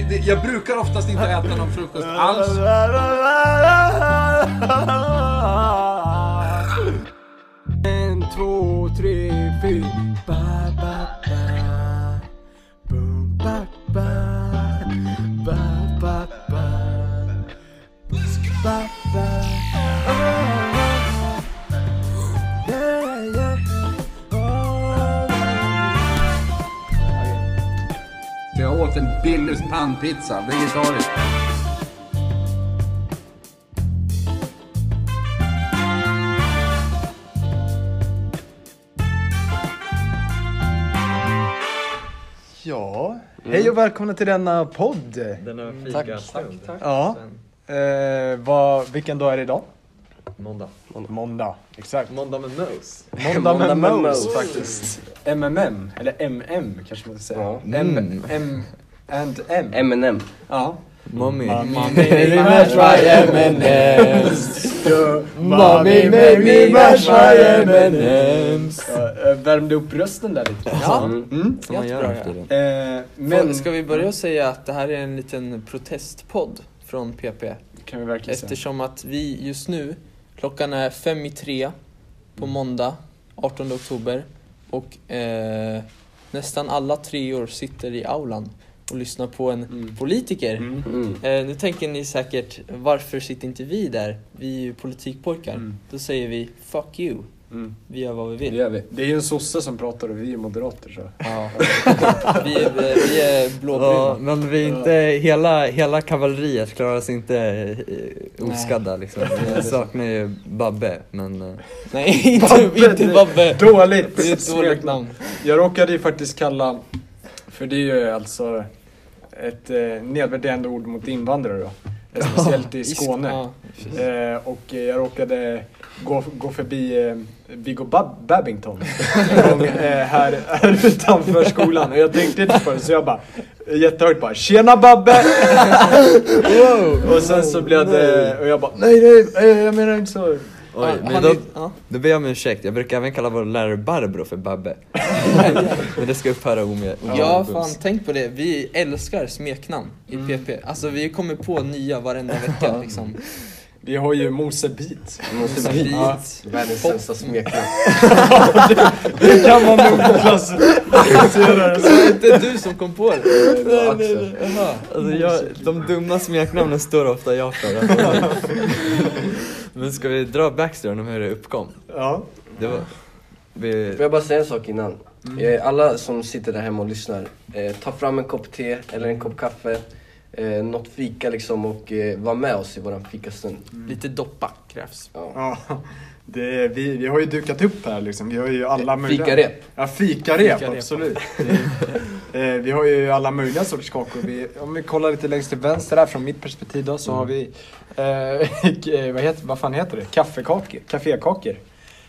jag brukar oftast inte äta någon frukost alls. En, två, tre, fyra. Ba, ba, ba. Bum, ba, ba. Ba, ba, ba. Ba, ba. Yeah, yeah. Oh. Så jag åt en Billys pannpizza, vegetariskt. Ja, hej och välkomna till denna podd. Denna Mm. Tack. fika stund. Ja. Eh, vad, vilken dag är det idag? Måndag. Måndag. Exakt. Måndag med Mose. Måndag med med Mose Mose. faktiskt. MMM, eller MM kanske man ska säga. M, M and M. M&M Ja. Mommy. Made me mash my M&M's. Mommy made me mash my M&M's. Värmde upp rösten där lite. Ja. Mm. Som man gör efter den. Eh, Men men ska vi börja och säga att det här är en liten protestpodd från PP kan vi verkligen säga. eftersom att vi just nu, klockan är fem i tre på Mm. måndag 18 oktober och eh, nästan alla treor sitter i aulan och lyssnar på en Mm. politiker. Mm. mm. Eh, nu tänker ni säkert, varför sitter inte vi där? Vi är ju politikpojkar. Mm. Då säger vi, fuck you. Mm. Vi gör vad vi Det vill. gör vi. Det är ju en sosse som pratar och vi är moderater så. Ja. vi, är, vi är blåbruna. Ja, men vi är inte, hela, hela kavalleriet klarar sig inte eh, oskadda liksom. Vi saknar ju Babbe, men... eh, Nej, inte, inte Babbe. Dåligt! Det är ett dåligt namn. Jag råkade ju faktiskt kalla, för det är ju alltså ett eh, nedvärderande ord mot invandrare då. Eh, Speciellt i Skåne. Ja. Eh, och eh, jag råkade gå, gå förbi eh, Viggo Bab- Babington en gång, eh, här, här utanför skolan och jag tänkte inte på det så jag bara eh, jättehögt bara “Tjena Babbe!” Och sen så blev det, och jag bara “Nej nej, eh, jag menar inte så” Oj, Han- men han då, är- ja. då ber jag om ursäkt. Jag brukar även kalla vår lärare Barbro för Babbe. men det ska upphöra ome- Ja, omedelbart. fan tänk på det. Vi älskar smeknamn i PP. Alltså vi kommer på nya varenda vecka liksom. Vi har ju Mose Beat. Ja. Världens sämsta smeknamn Det kan man nog klassificera det Så det är inte du som kom på det. Axel Jaha. Alltså jag, de dumma smeknamnen står ofta jag för. Alltså. Men ska vi dra backstoryn om hur det uppkom? Ja. Det var, vi, Får jag bara säga en sak innan? Mm. Eh, Alla som sitter där hemma och lyssnar, eh, ta fram en kopp te eller en kopp kaffe, eh, något fika liksom och eh, var med oss i våran fikastund. Lite doppa krävs. Ja. ja. Det är, vi, vi har ju dukat upp här liksom. Vi har ju alla möjliga... Fikarep. Ja, fikarep, Fikarep. absolut. Det är- eh, vi har ju alla möjliga sorters kakor. Vi, om vi kollar lite längst till vänster här från mitt perspektiv då så har vi, eh, vad, heter, vad fan heter det? Kaffekakor. Kafékakor.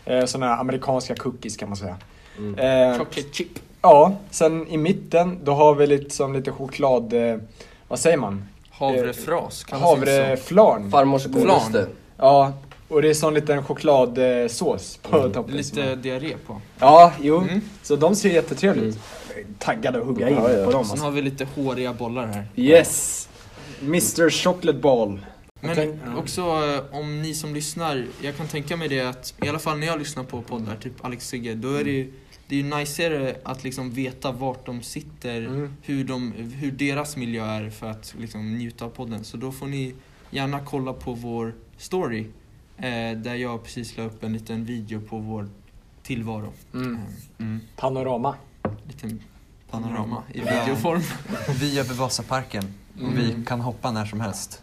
Eh, sådana här amerikanska cookies kan man säga. Eh, Chocolate chip. ja, sen i mitten då har vi lite, som lite choklad, eh, vad säger man? Havrefras kallas det så. Havreflarn. Farmors Flan. godaste. Ja, och det är sån liten chokladsås på toppen. Lite diarré på. Ja, jo. Mm. Så de ser jättetrevliga ut. Taggade att hugga in på dem. Sen Alltså. har vi lite håriga bollar här. Yes! Mr Chocolate Ball. Men tänk- ja. också eh, om ni som lyssnar, jag kan tänka mig det att i alla fall när jag lyssnar på poddar, typ Alex Sigge, då är det ju det är ju najsigare att liksom veta vart de sitter, Mm. hur, de, hur deras miljö är för att liksom njuta av podden. Så då får ni gärna kolla på vår story eh, där jag precis la upp en liten video på vår tillvaro. Mm. Mm. Panorama. Liten panorama i videoform. vi gör Vasaparken och Mm. vi kan hoppa när som helst.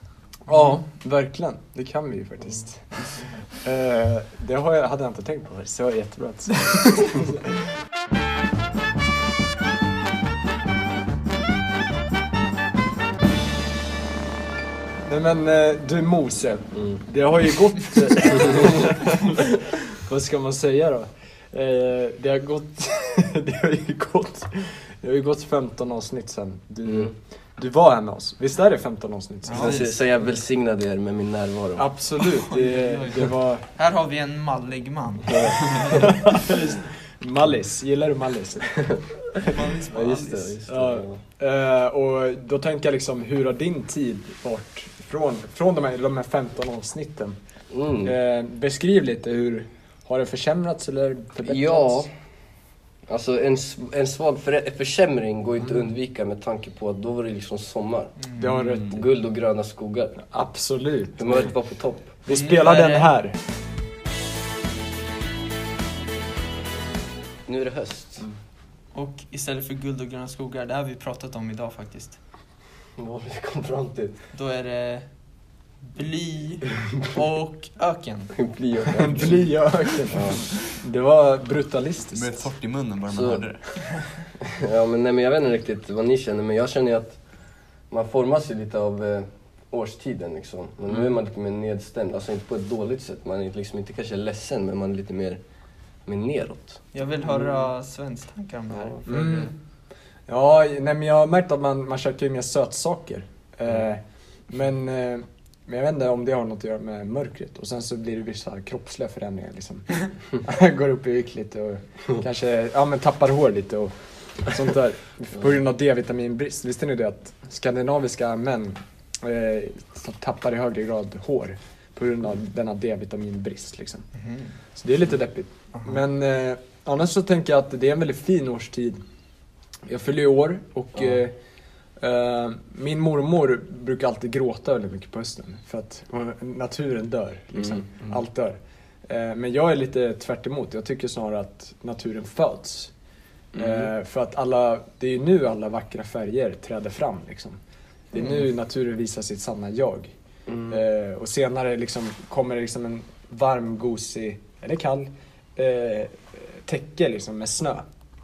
Ja, verkligen. Det kan vi ju faktiskt. Eh, det har jag, hade jag inte tänkt på. Så jättebra. att- Nej men eh, du Mose, det har ju gått... Vad ska man säga då? Eh, Det har gått... det har ju gått... Det har ju gått 15 avsnitt sen du, Mm. du var här med oss. Visst är det 15 avsnitt sen? Ja, Så, så jag välsignade er med min närvaro. Absolut, det, det var... Här har vi en mallig man. Mallis, gillar du Mallis? Ja, just det. Just det. Ja. Eh, och då tänker jag liksom, hur har din tid varit från, från de, här, de här 15 avsnitten? Mm. Eh, beskriv lite, hur har det försämrats eller förbättrats? Ja. Alltså en, s- en svag förä- försämring går ju inte att undvika med tanke på att då var det liksom sommar. Det har du rätt i. Guld och gröna skogar. Absolut. Humöret var på topp. Vi spelar den här. Nu är det höst. Och istället för guld och gröna skogar, det här har vi pratat om idag faktiskt. Vad har vi kom fram till? Då är det bly och öken. Bly och En bly och öken. Det var brutalistiskt. blev torrt i munnen bara man Så- hörde det. Ja men nej men jag vet inte riktigt vad ni känner men jag känner ju att man formas ju lite av eh, årstiden liksom. Men nu är man lite mer nedstämd, alltså inte på ett dåligt sätt. Man är liksom inte kanske ledsen men man är lite mer, mer neråt. Jag vill höra Svens tankar om det här. Mm. Ja, nej, men jag har märkt att man, man käkar ju mer sötsaker. Eh, men, eh, men jag vet inte om det har något att göra med mörkret. Och sen så blir det vissa kroppsliga förändringar liksom. Går upp i vikt lite och kanske ja, men tappar hår lite och sånt där. På grund av D-vitaminbrist. Visste ni det att skandinaviska män eh, tappar i högre grad hår på grund av denna D-vitaminbrist liksom. Mhm. Så det är lite deppigt. Men eh, annars så tänker jag att det är en väldigt fin årstid. Jag fyller ju år och eh, eh, min mormor brukar alltid gråta väldigt mycket på hösten. För att eh, naturen dör, liksom. Allt dör. Eh, men jag är lite tvärt emot. Jag tycker snarare att naturen föds. Eh, för att alla, det är ju nu alla vackra färger träder fram liksom. Det är nu naturen visar sitt sanna jag. Eh, och senare liksom kommer det liksom en varm, gosig, eller kall, eh, täcke liksom med snö.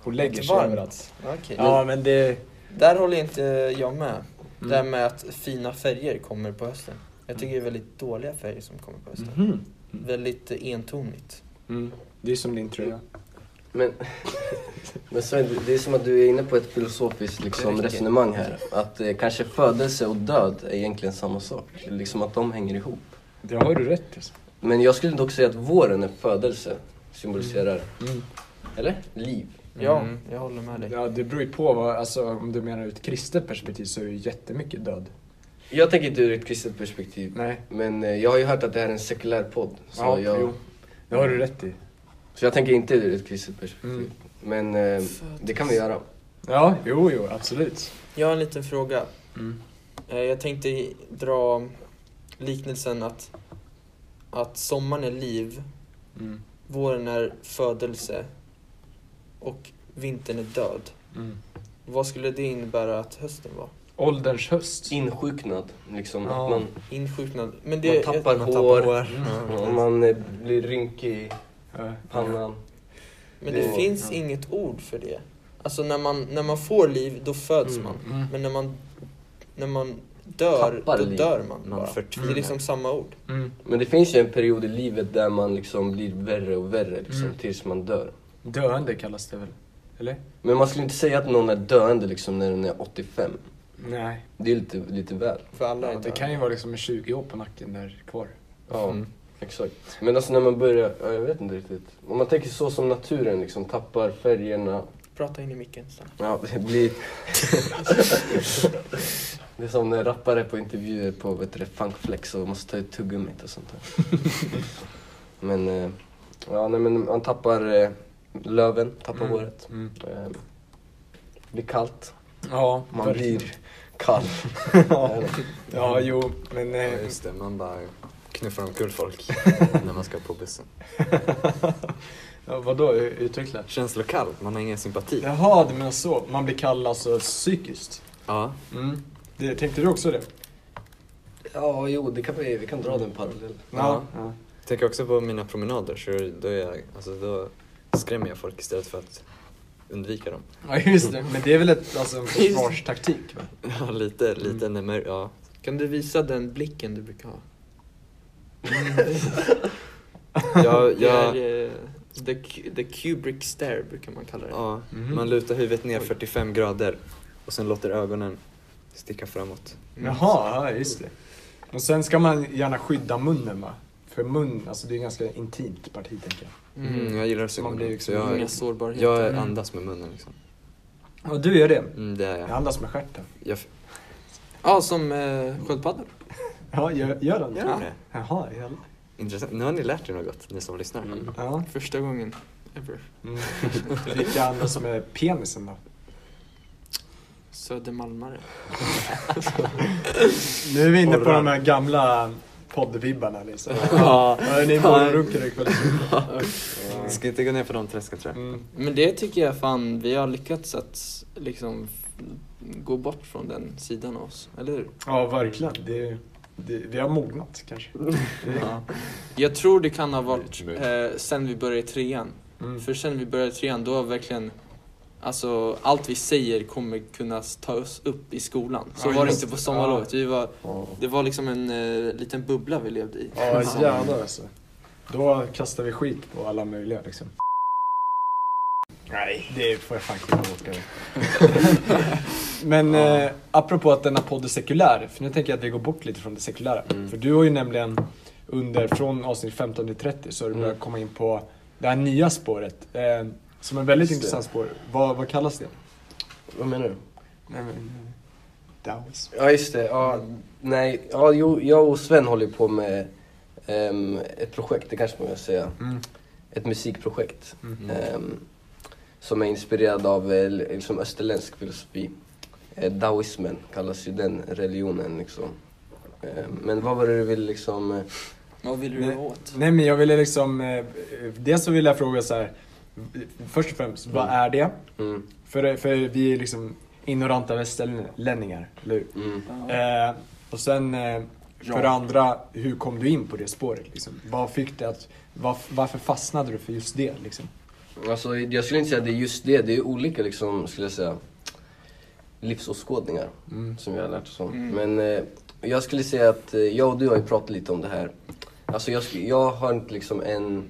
Och lägger sig Varmt. överallt. Okej. Ja men det... Där håller inte jag med. Det Mm. här med att fina färger kommer på hösten. Jag tycker det är väldigt dåliga färger som kommer på hösten. Mhm. Väldigt eh, entonigt. Mm. Det är som din tröja. Men, men Sven, det är som att du är inne på ett filosofiskt liksom, resonemang här. Att eh, kanske födelse och död är egentligen samma sak. Liksom att de hänger ihop. Det har du rätt i. alltså. Men jag skulle dock säga att våren är födelse, symboliserar, Mm. eller? Liv. Ja, jag håller med dig. Ja, det beror ju på vad, alltså om du menar ur ett kristet perspektiv så är ju jättemycket död. Jag tänker inte ur ett kristet perspektiv. Nej. Men eh, jag har ju hört att det här är en sekulär podd. Så, Ja, jag, jo. Det har du rätt i. så jag tänker inte ur ett kristet Mm. perspektiv. Men eh, det kan vi göra. Ja, jo, jo, absolut. Mm, Jag har en liten fråga. Eh, Jag tänkte i- dra liknelsen att, att sommaren är liv, Mm. våren är födelse och vintern är död. Mm. Vad skulle det innebära att hösten var? Ålderns höst. Insjuknad, liksom. Ja. Att man, Insjuknad. Men det, man tappar jag, hår, Mm. man eh, blir rynkig i Ja. pannan. men det Ja. finns inget ord för det. Alltså när man, när man får liv, då föds Mm. man. Mm. Men när man, när man dör, Tappar då liv. dör man Man bara. Det förtvinar. är liksom samma ord. Mm. Men det finns ju en period i livet där man liksom blir värre och värre liksom, Mm. tills man dör. Döende kallas det väl? Eller? Men man skulle inte säga att någon är döende liksom, när den är 85. Nej. Det är lite, lite väl. För alla är Ja, det döda. kan ju vara liksom en 20 år på nacken där kvar. Ja, Mm. exakt. Men alltså när man börjar, ja, jag vet inte riktigt. Om man tänker så som naturen liksom tappar färgerna, Prata in i micken snabbt. ja det blir... det är som när rappare på intervjuer på vet du, det, funkflex och måste ta ut tuggummit och sånt där. men, eh, ja nej men man tappar eh, löven, tappar håret. Mm. Eh, blir kallt, Ja, man blir kall. Eh, ja. ja, jo, men... Ja, Eh, just det, man bara knuffar omkull folk när man ska på bussen. ja, vadå, utveckla? Känslokall, man har ingen sympati. Ja. Jaha, du menar så. Man blir kall alltså psykiskt. ja. Mm. Det, tänkte du också det? ja jo det kan vi, vi kan dra den parallellen. ja. Tänker också på mina promenader, så då, är jag, alltså, då skrämmer jag folk istället för att undvika dem. Ja, just det. Men det är väl ett, alltså, en försvarstaktik? Va? Ja, lite, lite när, ja. Kan du visa den blicken du brukar ha? Jag, Det jag, är, eh, the, Ku- the Kubrick stare brukar man kalla det. Ja, man lutar huvudet ner 45 grader och sen låter ögonen sticka framåt. Mm. Mm. Jaha, ja, just det. Och sen ska man gärna skydda munnen va? För mun, alltså det är ju ganska intimt parti tänker jag. Mm, jag gillar att se Man blir munnen, liksom så jag, Inga sårbarheter. jag andas med munnen liksom. Och du gör det? Mm, det är Jag jag. andas med stjärten. jag. Ja, som eh, sköldpaddor. Ja, gör, gör den? Gör du det? Jaha, jävlar. Intressant. Nu har ni lärt er något, ni som lyssnar. Ja. Första gången ever. Mm. Fick jag andas med penisen då? Södermalmare. Nu är vi inne på de här gamla poddvibbarna liksom. Ja. Vad är ni morgonrunkar ikväll? Vi ska inte gå ner på de träsken tror jag. Mm. Men det tycker jag fan, vi har lyckats att liksom f- gå bort från den sidan av oss, eller hur? Ja, verkligen. Det, det, vi har mognat kanske. Ja. Jag tror det kan ha varit Mycket. eh, sen vi började i trean. Mm. För sen vi började i trean, då har verkligen Alltså allt vi säger kommer kunna ta oss upp i skolan. Så Ja, var det just inte på det. sommarlovet. Vi var, Ja. det var liksom en eh, liten bubbla vi levde i. Ja, jävlar alltså. Då kastar vi skit på alla möjliga liksom. Nej, det får jag fan inte åka över. Men eh, apropå att denna podd är sekulär, för nu tänker jag att vi går bort lite från det sekulära. För du har ju nämligen under, från avsnitt 15 till 30 så har du börjat komma in på det här nya spåret. Eh, som är väldigt Just det. intressant spår. Vad, vad kallas det? Vad menar du? Nej, men, Daos. Ja just det, ja, nej, ja, jo, jag och Sven håller ju på med ehm, ett projekt, det kanske man kan säga. Mm. Ett musikprojekt. Mm. ehm, som är inspirerad av eh, liksom österländsk filosofi. Eh, Daoismen kallas ju den religionen liksom. Ehm, men vad var det du ville liksom... eh, Vad ville du Nej. åt? Nej men jag ville liksom, eh, dels så ville jag fråga så här. först och främst, vad är det? Mm, För, för vi är liksom ignoranta västerlänningar, eller hur? mm. Eh, och sen, eh, för det andra, hur kom du in på det spåret? Liksom? Vad fick det att, var, varför fastnade du för just det? Liksom? Alltså, jag skulle inte säga att det är just det, det är olika liksom, skulle jag säga, livsåskådningar. Mm. som jag har lärt oss om. Men eh, jag skulle säga att eh, jag och du har ju pratat lite om det här. Alltså jag, sk- jag har inte liksom en,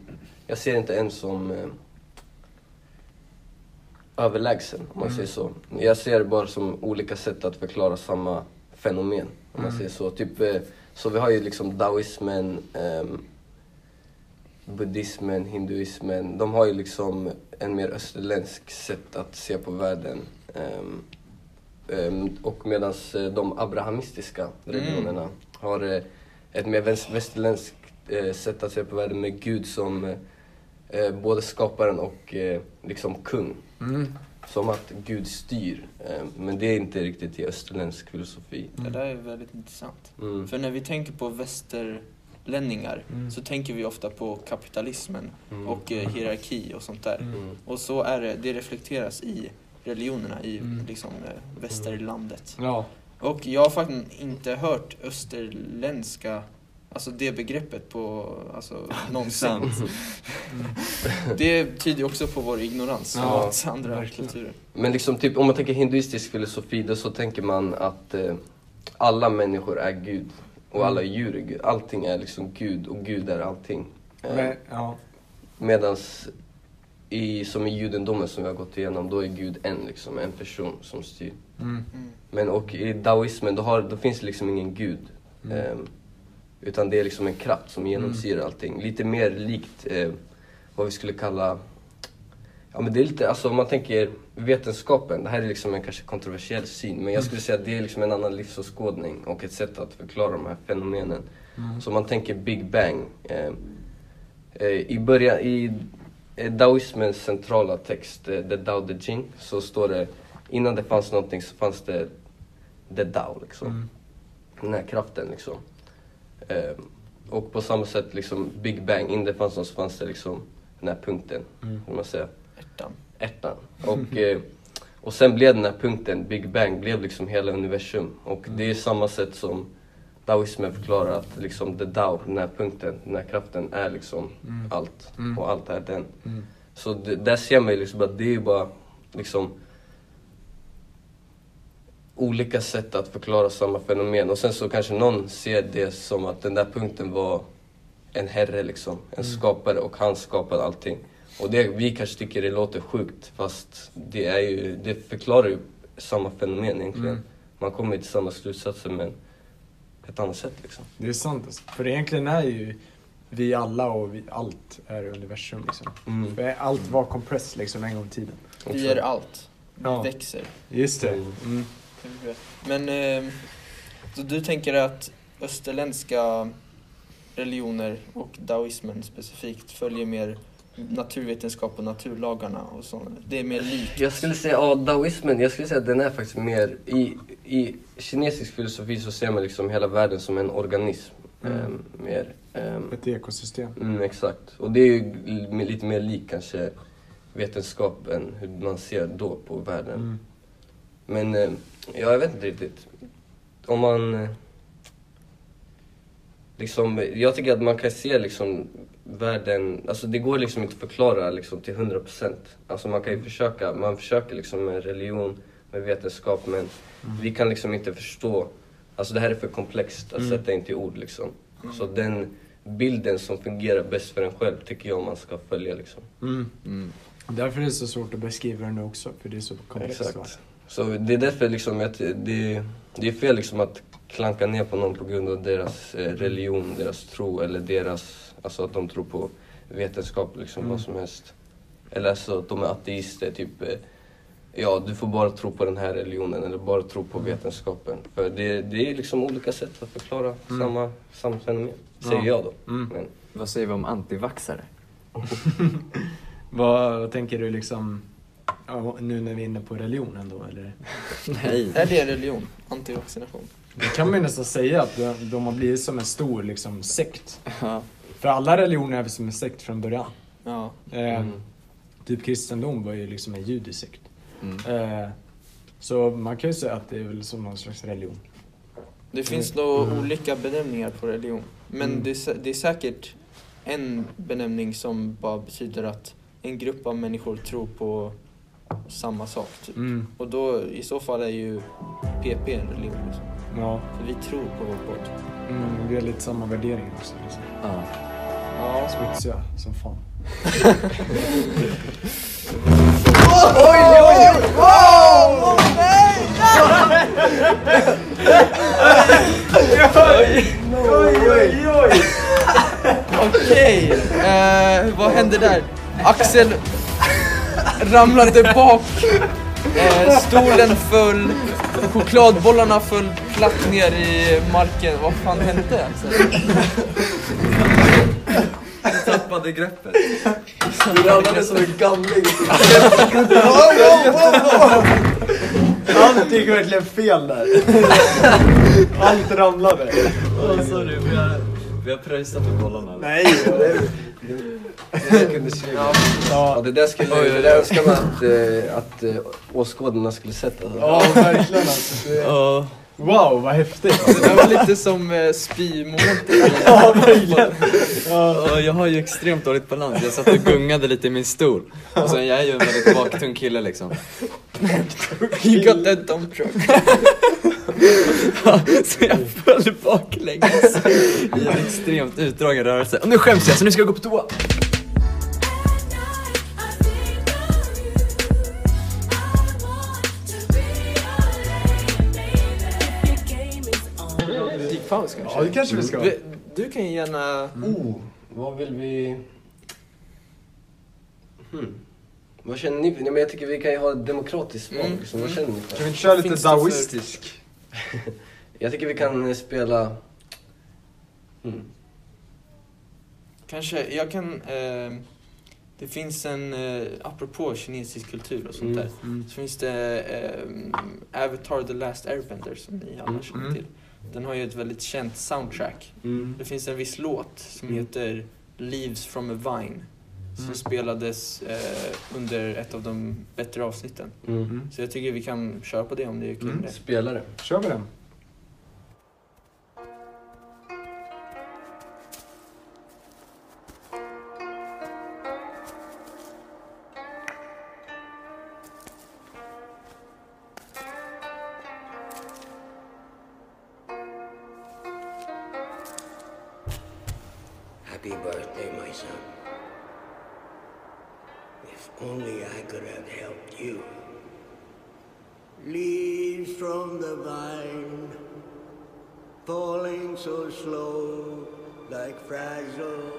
jag ser inte en som eh, överlägsen om man säger så. Jag ser det bara som olika sätt att förklara samma fenomen om man säger så. Typ, eh, så vi har ju liksom daoismen, ehm, buddhismen, hinduismen. De har ju liksom en mer österländsk sätt att se på världen. Ehm, Ehm, Och medan de abrahamistiska religionerna har eh, ett mer väst- västerländskt eh, sätt att se på världen med Gud som eh, eh, både skaparen och eh, liksom kung. Som att Gud styr. eh, Men det är inte riktigt i österländsk filosofi. Det där är väldigt intressant. Mm. För när vi tänker på västerlänningar så tänker vi ofta på kapitalismen Mm. och eh, hierarki och sånt där. Mm. Och så är det, det reflekteras i religionerna i Mm. liksom, eh, västerlandet. Ja. Och jag har faktiskt inte hört österländska, alltså det begreppet på, alltså någonsin. det tyder ju också på vår ignorans Ja, mot andra verkligen. kulturer. Men liksom typ, om man tänker hinduistisk filosofi då så tänker man att eh, alla människor är Gud. Och alla djur är Gud. Allting är liksom Gud och Gud är allting. Eh, Men, ja. Medan i, som i judendomen som vi har gått igenom, då är Gud en liksom, en person som styr. Mm. Men och i daoismen, då, har, då finns det liksom ingen gud. Ehm, utan det är liksom en kraft som genomsyrar allting. Lite mer likt eh, vad vi skulle kalla, ja men det är lite, alltså om man tänker vetenskapen, det här är liksom en kanske kontroversiell syn, men jag skulle säga att det är liksom en annan livsåskådning och ett sätt att förklara de här fenomenen. Så om man tänker Big Bang, eh, Eh, I början, i eh, daoismens centrala text, eh, The Dao De Jing, så står det innan det fanns någonting så fanns det The Dao, liksom. Den här kraften liksom. Eh, och på samma sätt liksom Big Bang, innan det fanns något så fanns det liksom den här punkten, hur man säger, Ärtan. ärtan. Och, eh, och sen blev den här punkten, Big Bang, blev liksom hela universum. Och det är samma sätt som daoismen förklarar att liksom the dao, den här punkten, den här kraften är liksom allt och allt är den. Så det, där ser man ju liksom att det är ju bara liksom olika sätt att förklara samma fenomen och sen så kanske någon ser det som att den där punkten var en herre liksom, en skapare och han skapade allting. Och det vi kanske tycker det låter sjukt fast det, är ju, det förklarar ju samma fenomen egentligen. mm. Man kommer ju till samma slutsatser men ett annat sätt liksom. Det är sant alltså. För egentligen är ju vi alla och vi, Mm. Mm. allt är universum. Liksom. För allt var kompress liksom, en gång i tiden. Vi är allt. Ja. växer. Just det. Mm. Men eh, så du tänker att österländska religioner och daoismen specifikt följer mer naturvetenskap och naturlagarna och sånt. Det är mer likt. Jag skulle säga, ja, daoismen, jag skulle säga att den är faktiskt mer... I, I kinesisk filosofi så ser man liksom hela världen som en organism. Mm. Ehm, mer. ehm, Ett ekosystem. mm, exakt. Och det är ju l- lite mer lik kanske vetenskap än hur man ser då på världen. Mm. Men eh, ja, jag vet inte riktigt. Om man... eh, Liksom, jag tycker att man kan se liksom världen, alltså det går liksom inte att förklara liksom till 100%. Alltså man kan ju försöka, man försöker liksom med religion, med vetenskap men vi kan liksom inte förstå, alltså det här är för komplext att sätta in till ord liksom. Så den bilden som fungerar bäst för en själv tycker jag man ska följa liksom. Mm. Mm. Därför är det så svårt att beskriva den också, för det är så komplext. Exakt. va? Så det är därför liksom att det, det är fel liksom att klanka ner på någon på grund av deras eh, religion, deras tro eller deras, alltså att de tror på vetenskap liksom, Mm. vad som helst. Eller alltså att de är ateister, typ eh, ja du får bara tro på den här religionen eller bara tro på Mm. vetenskapen. För det, det är liksom olika sätt att förklara Mm. samma, samma fenomen, säger Ja. jag då. Mm. Men, Vad säger vi om antivaxare? Vad, vad tänker du liksom, ja, nu när vi är inne på religionen då eller? Nej. Är det en religion? Antivaccination? Det kan man ju nästan säga att de, de har blivit som en stor liksom sekt. Ja. För alla religioner är väl som en sekt från början. Ja. Eh, mm. Typ kristendom var ju liksom en judisk sekt. Mm. Eh, så man kan ju säga att det är väl som någon slags religion. Det finns nog olika benämningar på religion. Men Mm. det, är, sä- det är säkert en benämning som bara betyder att en grupp av människor tror på samma sak. Typ. Mm. Och då i så fall är ju PP en religion. Liksom. Ja, För vi tror på vår Gud. mm, vi har lite samma värderingar också. Liksom. Ja. Ja. Smutsiga som fan. Okej, eh, vad hände där? Axel ramlade bak, eh, stolen föll, chokladbollarna föll platt ner i marken. Vad fan hände Axel? Tappade greppet. Grannarna som en gamling. Allt gick verkligen fel där. Allt ramlade. sorry, vi har, vi har pröjsat för bollarna. Nej, Jag kunde se. Ja, Ja, det där skulle det där önskar man att, eh, att eh, åskådarna skulle sett. Alltså. ja verkligen alltså. Det- Ja. Wow, vad häftigt. Det där var lite som eh, spymomentet. Ja, verkligen. Ja, jag har ju extremt dåligt balans. Jag satt och gungade lite i min stol. Och sen, jag är ju en väldigt baktung kille liksom. You got that dump truck. Så jag föll baklänges i en extremt utdragen rörelse. Och nu skäms jag så nu ska jag gå på toa. Musikpaus kanske? Ja, det kanske vi ska. Vi- Du kan ju gärna... Oh, vad vill vi... Mm. Hmm. Vad känner ni? Nej, men jag tycker vi kan ju ha ett demokratiskt val. Mm, Liksom. Vad känner ni? Kan vi För? inte köra lite Finns det för- daoistisk? Jag tycker vi kan eh, spela... Kanske, jag kan... Eh, det finns en, eh, apropå kinesisk kultur och sånt där, så finns det eh, Avatar The Last Airbender som ni alla Mm, känner mm. till. Den har ju ett väldigt känt soundtrack. Det finns en viss låt som Mm. heter Leaves from a Vine som Mm. spelades eh, under ett av de bättre avsnitten. Mm. Så jag tycker vi kan köra på det om det är kul Mm. med det. Spelare. Kör vi den? Happy birthday, my son. If only I could have helped you. Leaves from the vine, falling so slow, like fragile,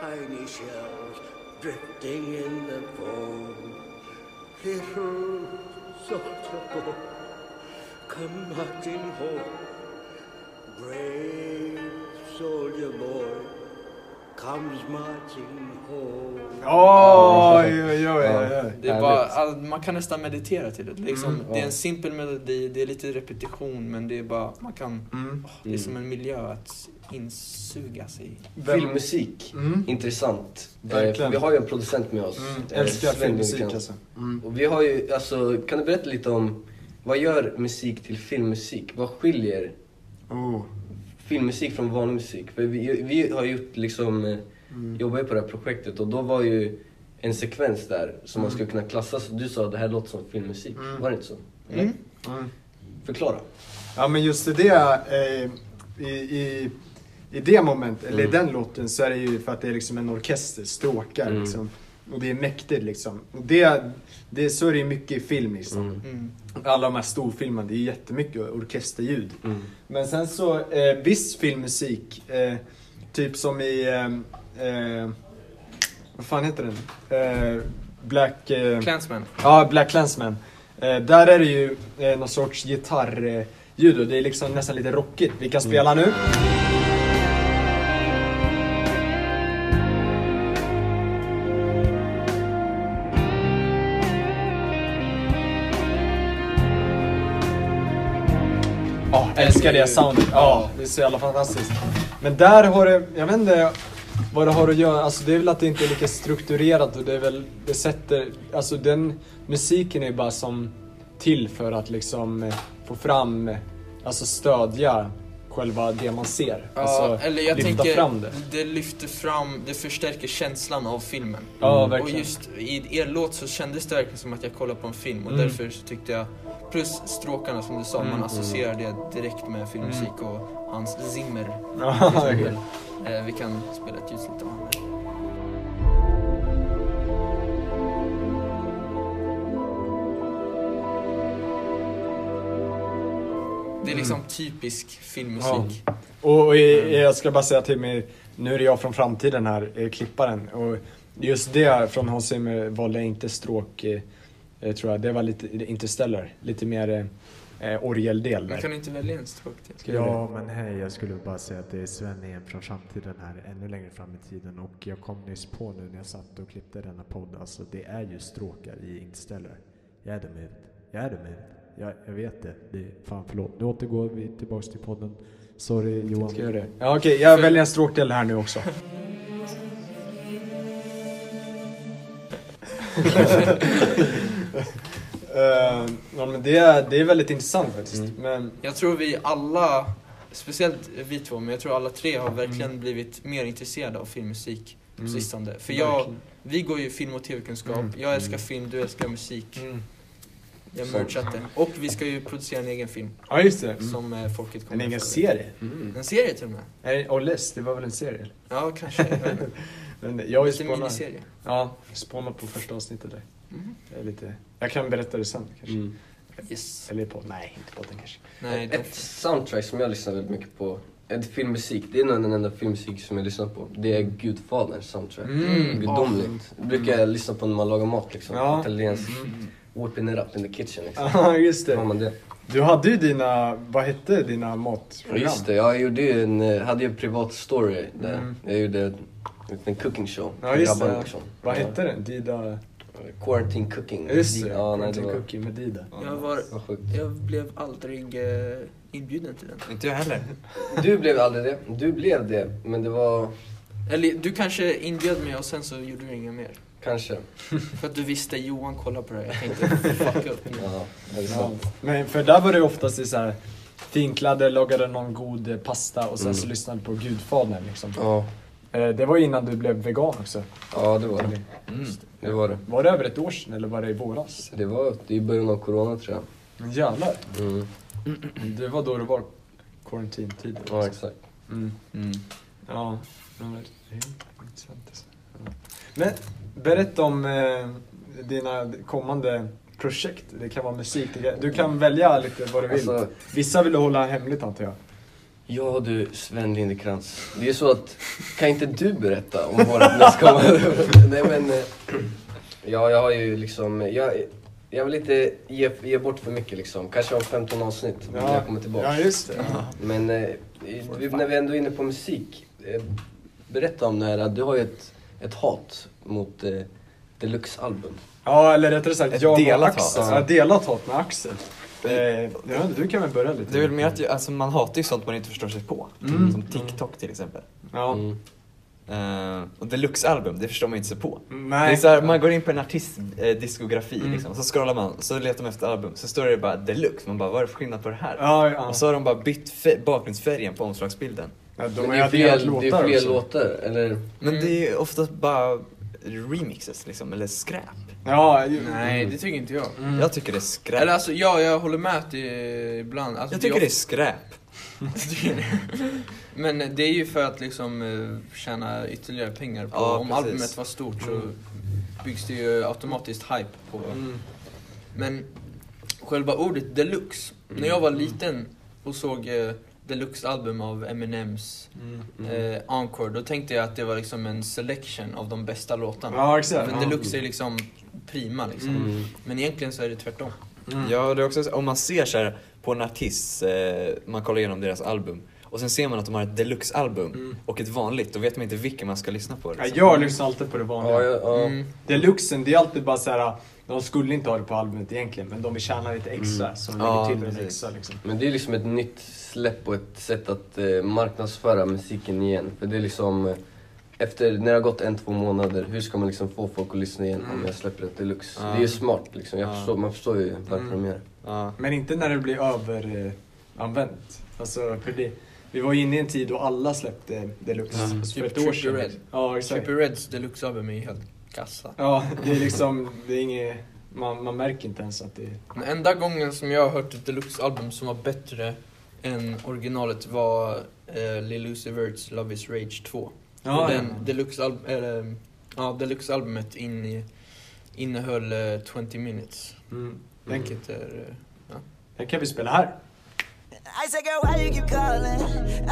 tiny shells drifting in the foam. Little sortable, combating hope. Brave soldier boy comes marching home. Oj, oj, oj, oj, oj. Det är bara, all, man kan nästan meditera till det. Liksom, Mm. Det är en simpel melodi, det är lite repetition men det är bara, man kan, Mm. åh, det är som en miljö att insuga sig i. Vem- Filmmusik, Mm. intressant. Eh, Verkligen. Vi har ju en producent med oss. Mm, eh, älskar Sven filmmusik Duncan. alltså. Mm. Och vi har ju, alltså, kan du berätta lite om vad gör musik till filmmusik? Vad skiljer Oh. filmmusik från vanlig musik? För vi, vi har gjort liksom, eh, Mm. jobbar ju på det här projektet och då var ju en sekvens där som Mm. man skulle kunna klassa. Så du sa att det här låter som filmmusik. Var det inte så? Mm. Mm. Förklara. Ja men just i det, eh, i, i, i det momentet, eller i den låten så är det ju för att det är liksom en orkester, stråkar Mm. liksom. Och det är mäktigt liksom. Och det, det, så är det ju mycket i film liksom. Mm. Alla de här storfilmerna, det är ju jättemycket orkesterljud. Mm. Men sen så, eh, viss filmmusik, eh, typ som i, eh, eh, vad fan heter den? Eh, Black... Eh, Clansman. Ja, Black Clansman. Eh, där är det ju eh, någon sorts gitarrljud eh, ljud och det är liksom nästan lite rockigt. Vi kan spela nu. Ja, älskar det soundet. Ja, det är så jävla fantastiskt. Men där har det, jag vet inte vad det har att göra, alltså det är väl att det inte är lika strukturerat och det är väl, det sätter, alltså den musiken är bara som till för att liksom eh, få fram, eh, alltså stödja själva det man ser. Ja, alltså eller jag lyfta tänker, fram det. det lyfter fram, det förstärker känslan av filmen. Mm. Ja, Och verkligen. just i er låt så kändes det verkligen som att jag kollade på en film och Mm. därför så tyckte jag, plus stråkarna som du sa, man associerar det direkt med filmmusik Mm. och hans Zimmer. Ja, till exempel. verkligen. Eh, Vi kan spela ett ljusligt av honom. Det är liksom Mm. typisk filmmusik. Och, och jag, jag ska bara säga till mig, nu är det jag från framtiden här, eh, klipparen. Och just det från Hans Zimmer valde jag inte stråk, eh, eh, tror jag. Det var lite Interstellar, lite mer eh, eh, orgeldel Man där. kan inte välja en stråk till. Ska jag göra Ja, men hej, jag skulle bara säga att det är Sven igen från framtiden här, ännu längre fram i tiden. Och jag kom nyss på nu när jag satt och klippte denna podd, alltså det är ju stråkar i Interstellar. Jag är dum i huvudet. Jag är dum i huvudet. Jag, jag vet det. det är, fan, förlåt. Nu återgår vi tillbaks till podden. Sorry Johan. Ska jag göra det? Ja, okej, jag väljer en stråkdel här nu också. Eh, ja, men det, är- det är väldigt intressant faktiskt. Mm. Men, Jag tror vi alla, speciellt vi två, men jag tror alla tre Mm. har verkligen blivit mer intresserade av filmmusik på sistone. För jag, Verkligen. vi går ju film och tv-kunskap, jag älskar film, du älskar musik. Mm. Jag merchat det. Och vi ska ju producera en egen film Ja, just det. som eh, folket kommer Mm. En egen att få- serie. En serie till och med? Nej, Olles, det var väl en serie? Ja, kanske. jag vet inte. Men jag har ju Lite spånat. miniserie. Ja, spånat på första avsnittet där. Det är lite... Jag kan berätta det sen kanske. Yes. Eller på... Nej, inte på den kanske. Nej, de... Ett soundtrack som jag lyssnar väldigt mycket på, ett filmmusik, det är nog den enda filmmusik som jag lyssnar på. Det är Gudfaderns soundtrack. Mm. Gudomligt. Det brukar jag lyssna på när man lagar mat liksom. Ja. Mm. Italiensk. Whipping it up in the kitchen liksom. Ja, just Har det. man det. Du hade ju dina... Vad hette dina matprogram? Just det, jag gjorde ju en, eh, hade ju en privat story där. Mm. Jag gjorde en liten cooking show. Ja, för just det. grabbarna, liksom. Vad Ja. hette den? Dida... Quarantine cooking. Just det. Ja, nej, det Content var, Cookie med Dida. jag, var, var sjukt. jag blev aldrig eh, inbjuden till den. Inte jag heller. Du blev aldrig det. Du blev det, men det var Eller du kanske inbjöd mig och sen så gjorde du inget mer. kanske. För att du visste Johan kollar på det här. Jag tänkte fuck upp nu. Ja, det är Ja. sant. Men för där var det oftast i så här... Finkläder, lagade någon god eh, pasta och sen Mm. så lyssnade på Gudfadern liksom. Ja. Eh, Det var ju innan du blev vegan också. ja, det var det. Det var det. Var det över ett år sedan eller var det i våras? Det var det är i början av corona tror jag. Men Jävlar. Mm. Det var då det var quarantine-tid. Ja, exakt. Mm. Ja, men det är intressant. alltså. Ja. Men berätta om eh, dina kommande projekt. Det kan vara musik. Det kan, du kan välja lite vad du vill. Alltså- Vissa vill du hålla hemligt antar jag. Ja du, Sven Lindekrans. Det är så att, kan inte du berätta om vårt nästkommande? Nej men, eh, ja jag har ju liksom, jag, Jag vill inte ge, ge bort för mycket liksom. Kanske om 15 avsnitt när jag kommer tillbaka. Ja, just det. Men eh, vi, när vi ändå är inne på musik. Eh, berätta om det här. att Du har ju ett, ett hat mot eh, deluxe-album. Ja, eller rättare sagt, Ett jag och delat Axel. hat. Ja, delat hat med Axel. Eh, jag vet inte, du kan väl börja lite? Det är väl mer att jag- alltså, man hatar ju sånt man inte förstår sig på. Som TikTok till exempel. Ja. Mm. Eh, och deluxe-album, det förstår man ju inte sig på. Det är Mm. Nej. så här, man går in på en artists eh, diskografi liksom, så scrollar man, så letar man efter album, så står det bara deluxe, man bara vad är det för skillnad på det här? Alltså, Ja, ja. Och så har de bara bytt fä- bakgrundsfärgen på omslagsbilden. Ja, de Men har det är ju adderat fler, det är låtar fler också. låtar, eller? Men det är ju oftast bara remixes liksom, eller skräp. Ja, ju- Nej, det tycker inte jag. Mm. Jag tycker det är skräp. Eller alltså, ja, jag håller med att det är ibland... Alltså, jag tycker det är skräp. Men det är ju för att liksom eh, tjäna ytterligare pengar på. Ja, Om precis. albumet var stort så byggs det ju automatiskt hype på. Men själva ordet deluxe. Mm. När jag var liten och såg eh, deluxe-album av Eminems Mm. eh, Encore, då tänkte jag att det var liksom en selection av de bästa låtarna. ja exakt. För deluxe är liksom prima liksom. Mm. Men egentligen så är det tvärtom. Mm. Ja, det är också, så- om man ser så här på en artist, eh, man kollar igenom deras album och sen ser man att de har ett deluxe-album och ett vanligt, då vet man inte vilken man ska lyssna på. Ja, Liksom. jag lyssnar alltid på det vanliga. Ja, ja, ja. Mm. Deluxen, det är alltid bara såhär, de skulle inte ha det på albumet egentligen, men de vill tjäna lite extra, så de lägger Ja, till lite precis. extra liksom. Men det är liksom ett nytt släpp och ett sätt att eh, marknadsföra musiken igen. För det är liksom, eh, efter, när det har gått en, två månader, hur ska man liksom få folk att lyssna igen om jag släpper ett deluxe? Ja. Det är ju smart liksom, jag Ja. förstår, man förstår ju varför de gör det. Ja. Men inte när det blir överanvänt. Eh, använt. alltså, för det, vi var ju inne i en tid då alla släppte deluxe. Mm. Alltså, för Typ ett år Trippie sedan. Red. Ja, exakt. Trippie Reds deluxe-album är ju helt kassa. Ja, det är liksom, det är inget, man, man märker inte ens att det är... Den enda gången som jag har hört ett deluxe-album som var bättre än originalet var eh, Lil Uzi Verts Love Is Rage 2. Och den deluxe-alb- eller, ja, deluxe-albumet in i, innehöll eh, 20 minutes. Mm. Den, Vilket är... eh, den kan vi spela här. I said, girl, why you keep calling?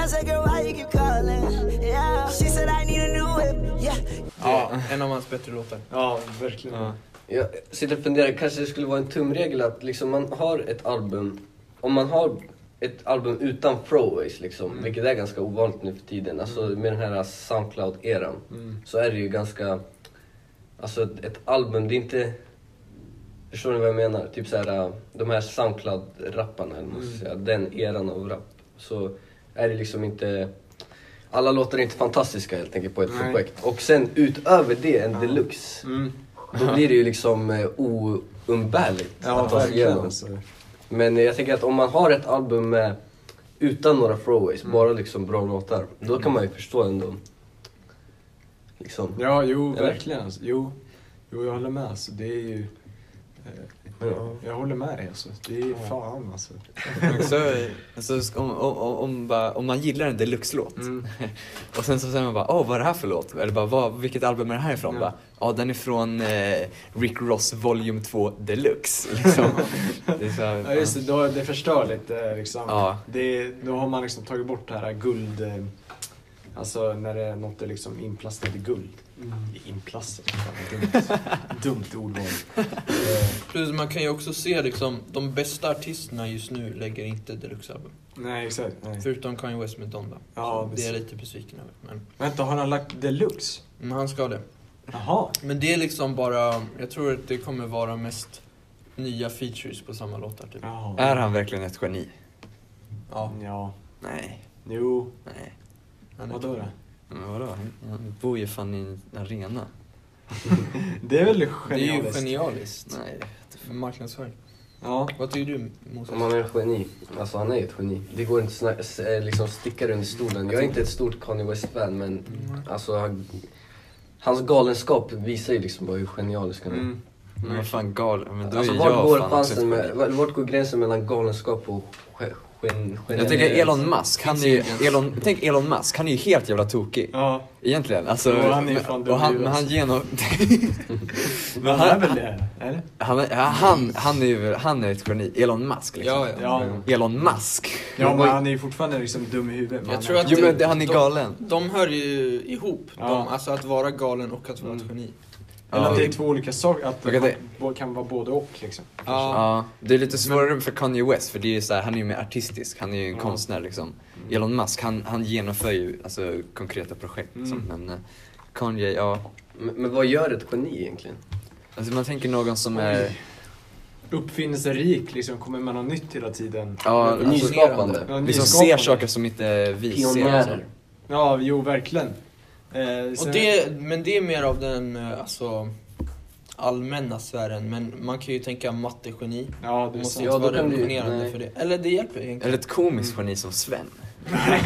I said, girl, why you keep calling? Yeah. She said, I need a new whip. Yeah. Det är en av hans bättre låtar. Ja, verkligen. Ja. Jag sitter och funderar, kanske det skulle vara en tumregel att liksom man har ett album, om man har ett album utan throwaways liksom, vilket är ganska ovanligt nu för tiden, alltså med den här Soundcloud-eran, så är det ju ganska, alltså ett, ett album, det är inte, förstår ni vad jag menar? Typ såhär, äh, de här Soundcloud-rapparna, eller vad man ska säga, den eran av rap, så är det liksom inte alla låtar är inte fantastiska helt enkelt på ett Nej. projekt. Och sen utöver det, en deluxe. Mm. Då blir det ju liksom eh, oumbärligt Ja, att ta sig verkligen igenom. alltså. Men eh, jag tänker att om man har ett album eh, utan några throwaways, Mm. bara liksom bra låtar, då kan man ju förstå ändå. Liksom. Ja, jo, Eller? verkligen. Alltså. Jo. jo, jag håller med. Alltså. Det är ju... Eh, Jag håller med dig alltså. Det är fan alltså. Men Också, alltså, sk- om, om, om, om, bara, om man gillar en deluxe-låt Mm. och sen så säger man bara åh vad är det här för låt? Eller bara vad, vilket album är det här ifrån? Ja. Bara, Ja den är från eh, Rick Ross Volume 2 Deluxe. Liksom. det är så, här, Ja, just det. Då, det förstör lite liksom. Ja. Det, då har man liksom tagit bort det här guld... Eh, alltså när det, något är liksom inplastat i guld. Mm. Inplastat? Fan, vad dumt. dumt ordval. Eh, Plus man kan ju också se liksom, de bästa artisterna just nu lägger inte deluxe-album. nej, exakt. Nej. Förutom Kanye West med Donda. Ja, Så det är jag precis. lite besviken över. Men, Vänta, har han lagt deluxe? men han ska det. Jaha. Men det är liksom bara, jag tror att det kommer vara mest nya features på samma låtar typ. Jaha. är han verkligen ett geni? Ja, Ja. Nej. Jo. Nej. han är Vadå då? Men vadå? Han, han bor ju fan i en arena. Det är väl Det är ju genialiskt? genialiskt. Nej. För marknadsföring. Ja. Vad tycker du Moses? Om han är ett geni. Alltså han är ju ett geni. Det går inte att sna- s- eh, liksom sticka det under stolen. Jag är inte ett stort Kanye West-fan men Mm. alltså han, hans galenskap visar ju liksom bara hur genialisk han är. Mm. Men vad fan galen, men då Alltså är vart jag går, fan också ett chansen med, geni. vart- vart går gränsen mellan galenskap och gen, gen, gen, Jag tänker Elon Musk, han är ju, Elon, tänk Elon Musk, han är ju helt jävla tokig. Ja. Egentligen, alltså. Jo, han är ju men- fan alltså. dum och han, i men han genom... men Men han är han, väl det? Eller? han, är- han, han, är ju, han är ett geni, Elon Musk liksom. Ja, ja. Ja. Elon Musk. ja, men han är ju fortfarande liksom dum i huvudet. men Jag han tror är- att Jo men det- han är de- galen. De hör ju ihop, Ja. de, alltså att vara galen och att vara ett geni. Eller Ja. att det är två olika saker, att Och att det- man kan vara både och liksom. Ja, det är lite svårare för Kanye West för det är ju så här, han är ju mer artistisk, han är ju en konstnär liksom. Elon Musk, han, han genomför ju alltså, konkreta projekt liksom. Men eh, Kanye, ja. Men, men vad gör ett geni egentligen? Alltså man tänker någon som är... Uppfinningsrik liksom, kommer med något nytt hela tiden. Ja, Nyskapande. alltså, Ja, liksom ser nyskapande. saker som inte vi ser. Pionjärer. Ja, jo verkligen. Eh, Och sen- det, men det är mer av den eh, alltså, allmänna sfären, men man kan ju tänka mattegeni. Ja, Det det är måste sant. Ja, inte då vara kan du- revolutionerande nej. för det. Eller det hjälper egentligen. Eller ett komiskt geni som Sven. nej,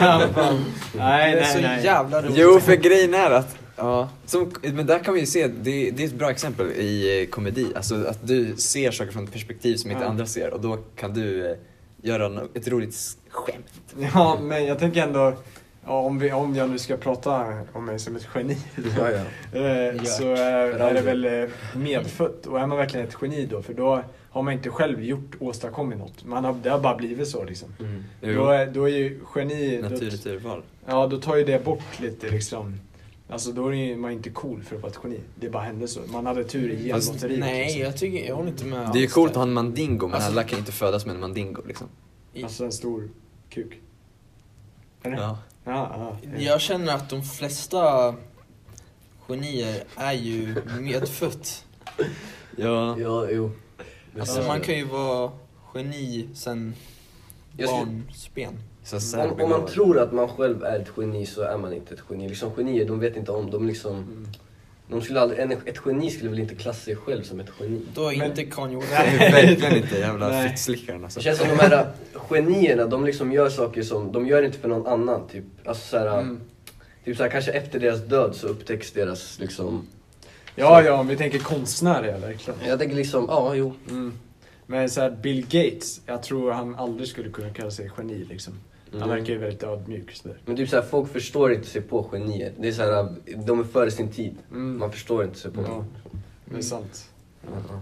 det är så nej, nej. jävla roligt. Jo, för grejen är att, ja, som, men där kan vi ju se, det, det är ett bra exempel i eh, komedi, alltså att du ser saker från ett perspektiv som inte Ja. andra ser och då kan du eh, göra no- ett roligt s- skämt. Ja, men jag tänker ändå, ja, om, vi, om jag nu ska prata om mig som ett geni, Ja, ja. eh, så eh, är det väl eh, medfött. Och är man verkligen ett geni då, för då har man inte själv gjort, åstadkommit något. Man har, det har bara blivit så liksom. Mm. Då Jo, är, då är ju geni, då, naturligt urval. ja då tar ju det bort lite liksom. Alltså då är ju man inte cool för att vara ett geni. Det bara hände så. Man hade tur i Fast- genlotteriet. Nej, liksom. jag, tycker, jag håller inte med. Det är ju alls coolt att där. ha en mandingo men Alltså- alla kan inte födas med en mandingo liksom. Alltså en stor kuk. Eller? Ja. Ja, ja. Jag känner att de flesta genier är ju medfött. Ja. Ja, jo. Det Alltså ser man jag. kan ju vara geni sen Jag skulle- barnsben. Så Om, serbien- om man tror att man själv är ett geni så är man inte ett geni. Liksom genier, de vet inte om, de liksom... De skulle aldrig, en, ett geni skulle väl inte klassa sig själv som ett geni? Då är Men- inte Kanye West Nej, verkligen inte, jävla Nej. fittslickaren alltså. Det känns som de här äh, genierna, de liksom gör saker som, de gör inte för någon annan typ. Alltså såhär, Mm. mm. typ såhär kanske efter deras död så upptäcks deras liksom... ja, ja, om vi tänker konstnärer ja, verkligen. Jag tänker liksom, ja jo. Mm. Men så här, Bill Gates, jag tror han aldrig skulle kunna kalla sig geni liksom. Han Mm. verkar ju väldigt ödmjuk sådär. Men typ såhär, folk förstår inte sig på genier. Det är såhär, de är före sin tid. Mm. Man förstår inte sig på Ja, dem. det är sant. Ja.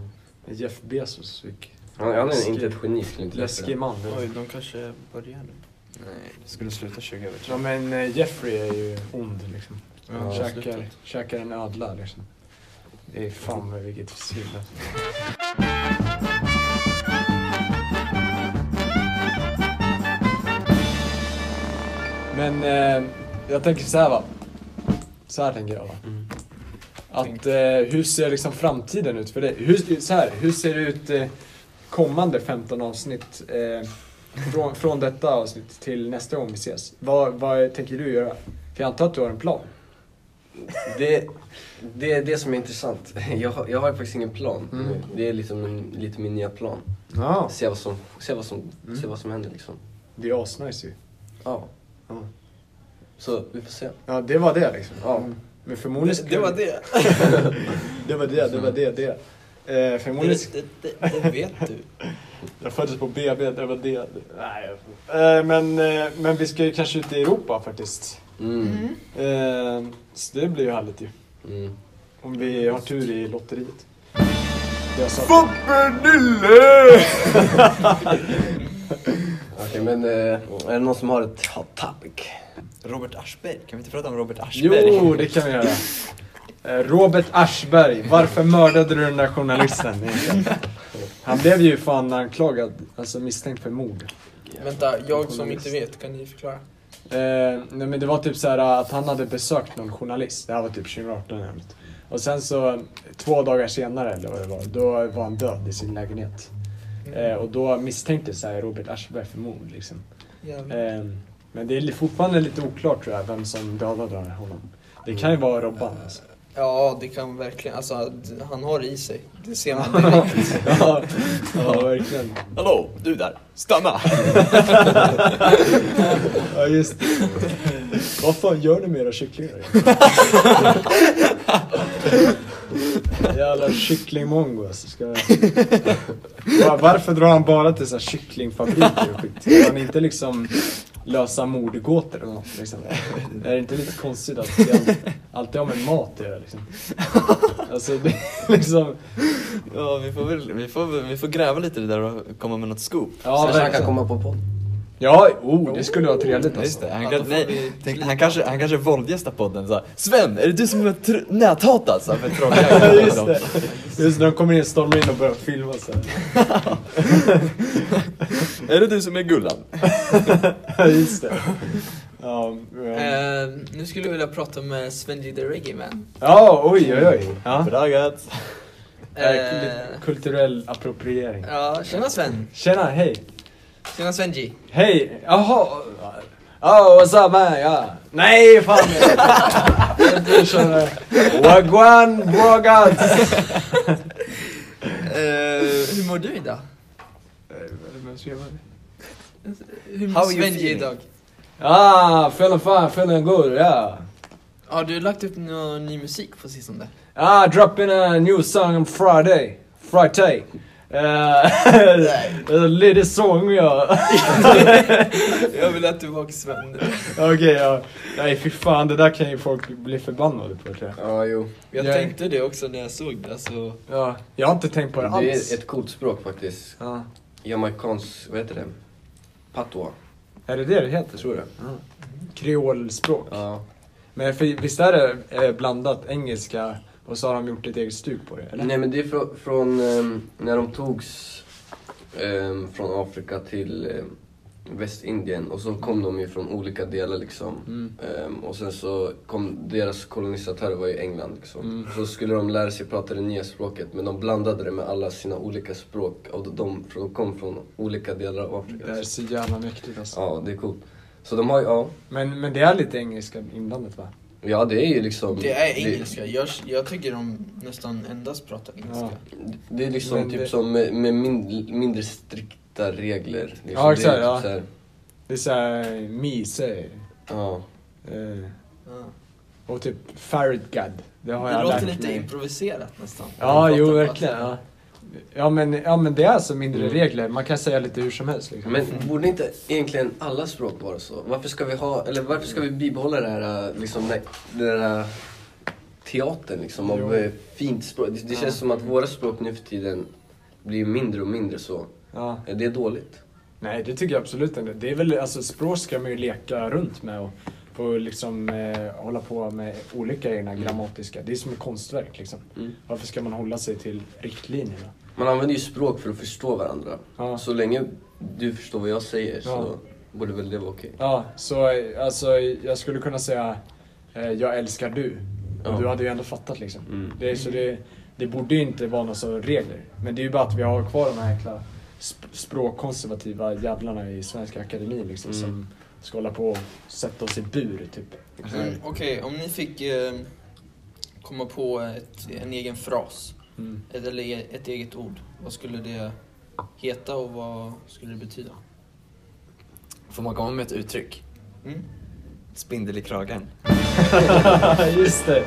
Jeff Bezos, vilken Han han är inte ett geni skulle inte jag läskig säga. man. Oj, de kanske börjar nu. Nej, det skulle sluta 20 över Ja men eh, Jeffrey är ju ond liksom. Ja, käkar, käkar en ödla liksom. Det är fan vad- vilket svinn. Men eh, jag tänker så här va. Så här tänker jag va. Att eh, hur ser liksom framtiden ut för dig? Hur, så här, hur ser det ut eh, kommande 15 avsnitt? Eh, från, från detta avsnitt till nästa gång vi ses. Vad, vad tänker du göra? För jag antar att du har en plan? Det, det är det som är intressant. Jag har, jag har faktiskt ingen plan nu. Det är liksom en, lite min nya plan. Ja. Se vad som, se vad som, se vad som händer liksom. Det är asnice ju. Ja. Ja. Så vi får se. Ja, det var det liksom. Ja. Men förmodligen Det, det var det. Det var det, det var det, det. Eh, förmodligen... Det, det, det, det vet du. Jag föddes på BB, det var det. Nej, jag... eh, men, eh, men vi ska ju kanske ut i Europa faktiskt. Mm. Eh, så det blir ju härligt ju. Mm. Om vi har tur i lotteriet. Okej men eh, är det någon som har ett hot topic? Robert Aschberg, kan vi inte prata om Robert Aschberg? Jo, det kan vi göra. Eh, Robert Aschberg, varför mördade du den där journalisten egentligen? Han blev ju fan anklagad, alltså misstänkt för mord. Vänta, jag som inte vet, kan ni förklara? Eh, nej men det var typ så här att han hade besökt någon journalist. Det här var typ 2018 eller något. Och sen så två dagar senare eller vad det var, då var han död i sin lägenhet. Eh, och då misstänktes så här Robert Aschberg för mord liksom. Jävlar. Eh, men det är li- fortfarande lite oklart tror jag vem som dödade honom. Det kan ju vara Robban alltså. Ja, det kan verkligen, alltså d- han har det i sig. Det ser man direkt. ja, ja, verkligen. Hallå, du där, stanna! Ja, just det. Vad fan gör ni med era kycklingar? Jävla kycklingmongo alltså. Ska... Var- Varför drar han bara till så här kycklingfabriker och skit? Ska han inte liksom lösa mordgåtor eller något liksom? Är det inte lite konstigt att det all- alltid har med mat att göra liksom? Alltså det är liksom... Ja, vi får, väl, vi, får, väl- vi får gräva lite i det där och komma med något scoop. Ja, Kanske han verkligen. kan komma på podd. Ja, oh, det skulle vara trevligt alltså. Just det, han, kan, nej, tänk, han kanske, han kanske våldgästar podden såhär Sven, är det du som är tr- näthatad? Så här, för trolljägare. Just det. Just när de kommer in, stormar in och börjar filma så här. Är det du som är Gullan? Just det. Ja, ja. Eh, nu skulle jag vilja prata med Svenji the Reggae Man. ja oj oj oj. Ja. Bra gött! Eh, Kulturell appropriering. ja, tjena Sven. Tjena, hej. Tjena Svenji. Hej! Jaha! Oh, what's up man? Ja. Nej, fan! Jag kör, eh, Wagwan Brogats! Eh, hur mår du idag? Hur mår How you Svenji feeling? idag? Ah, feeling fine, feeling good, yeah. Har du lagt upp någon ny musik på sistone? Ah, dropping a new song on Friday. Friday. Uh, a little song ja. Jag vill ha tillbaka Sven. Okej, ja. Nej fy fan, det där kan ju folk bli förbannade på tror jag. Ja, jo. Jag Jag- tänkte det också när jag såg det. Alltså, Ja, jag har inte tänkt på det Det alls. är ett coolt språk faktiskt. Ja. Jamaicans, vad heter det? Patois, Är det det det heter? jag tror det. Kreolspråk. Ja. Men för, visst är det eh, blandat engelska och så har de gjort ett eget stuk på det? Eller? Nej men det är från, från ehm, när de togs ehm, från Afrika till ehm, Västindien och så kom de ju från olika delar liksom. Mm. Ehm, och sen så kom deras kolonisatörer var ju England liksom. Mm. Så skulle de lära sig prata det nya språket men de blandade det med alla sina olika språk och de, för de kom från olika delar av Afrika. Det är så jävla mäktigt alltså. Ja, det är coolt. Så de har ju, ja. Men, men det är lite engelska inblandat va? Ja det är ju liksom... det är engelska. Jag, jag tycker de nästan endast pratar engelska. Det är liksom Men typ det- som med, med mindre, mindre strikta regler. Liksom. Ja, exakt, Det är ja. typ så här, Det är såhär mise. ja. Eh, Ja. och typ ferret god. Det har Det jag låter lärt lite mig. improviserat nästan. Ja, De jo pratar bara verkligen. så här. Ja. Ja, men, ja men det är alltså mindre regler. Man kan säga lite hur som helst liksom. Men borde inte egentligen alla språk vara så? Varför ska vi ha, eller varför ska vi bibehålla det här, äh, liksom, nej, den här teatern liksom av Jo. eh, fint språk? Det, det känns som att våra språk nu för tiden blir mindre och mindre så. Ja. Eh, Det är dåligt. Nej, det tycker jag absolut inte. Det är väl, alltså språk ska man ju leka runt med och få liksom eh, hålla på med olika egna grammatiska. Det är som ett konstverk liksom. Mm. Varför ska man hålla sig till riktlinjerna? Man använder ju språk för att förstå varandra. Ja. Så länge du förstår vad jag säger så Ja. borde väl det vara okej. Ja, så eh, alltså jag skulle kunna säga eh, jag älskar du. Och Ja. du hade ju ändå fattat liksom. Mm. Det, är- så det, det borde ju inte vara några sådana regler. Men det är ju bara att vi har kvar de här jäkla sp- språkkonservativa jävlarna i Svenska Akademin liksom Mm. som ska hålla på och sätta oss i bur typ. Men, Mm, Okej, om ni fick eh, komma på ett, en egen fras, Mm. ett, eller e- ett eget ord, vad skulle det heta och vad skulle det betyda? Får man komma med ett uttryck? Mm. Spindel i kragen. Just det.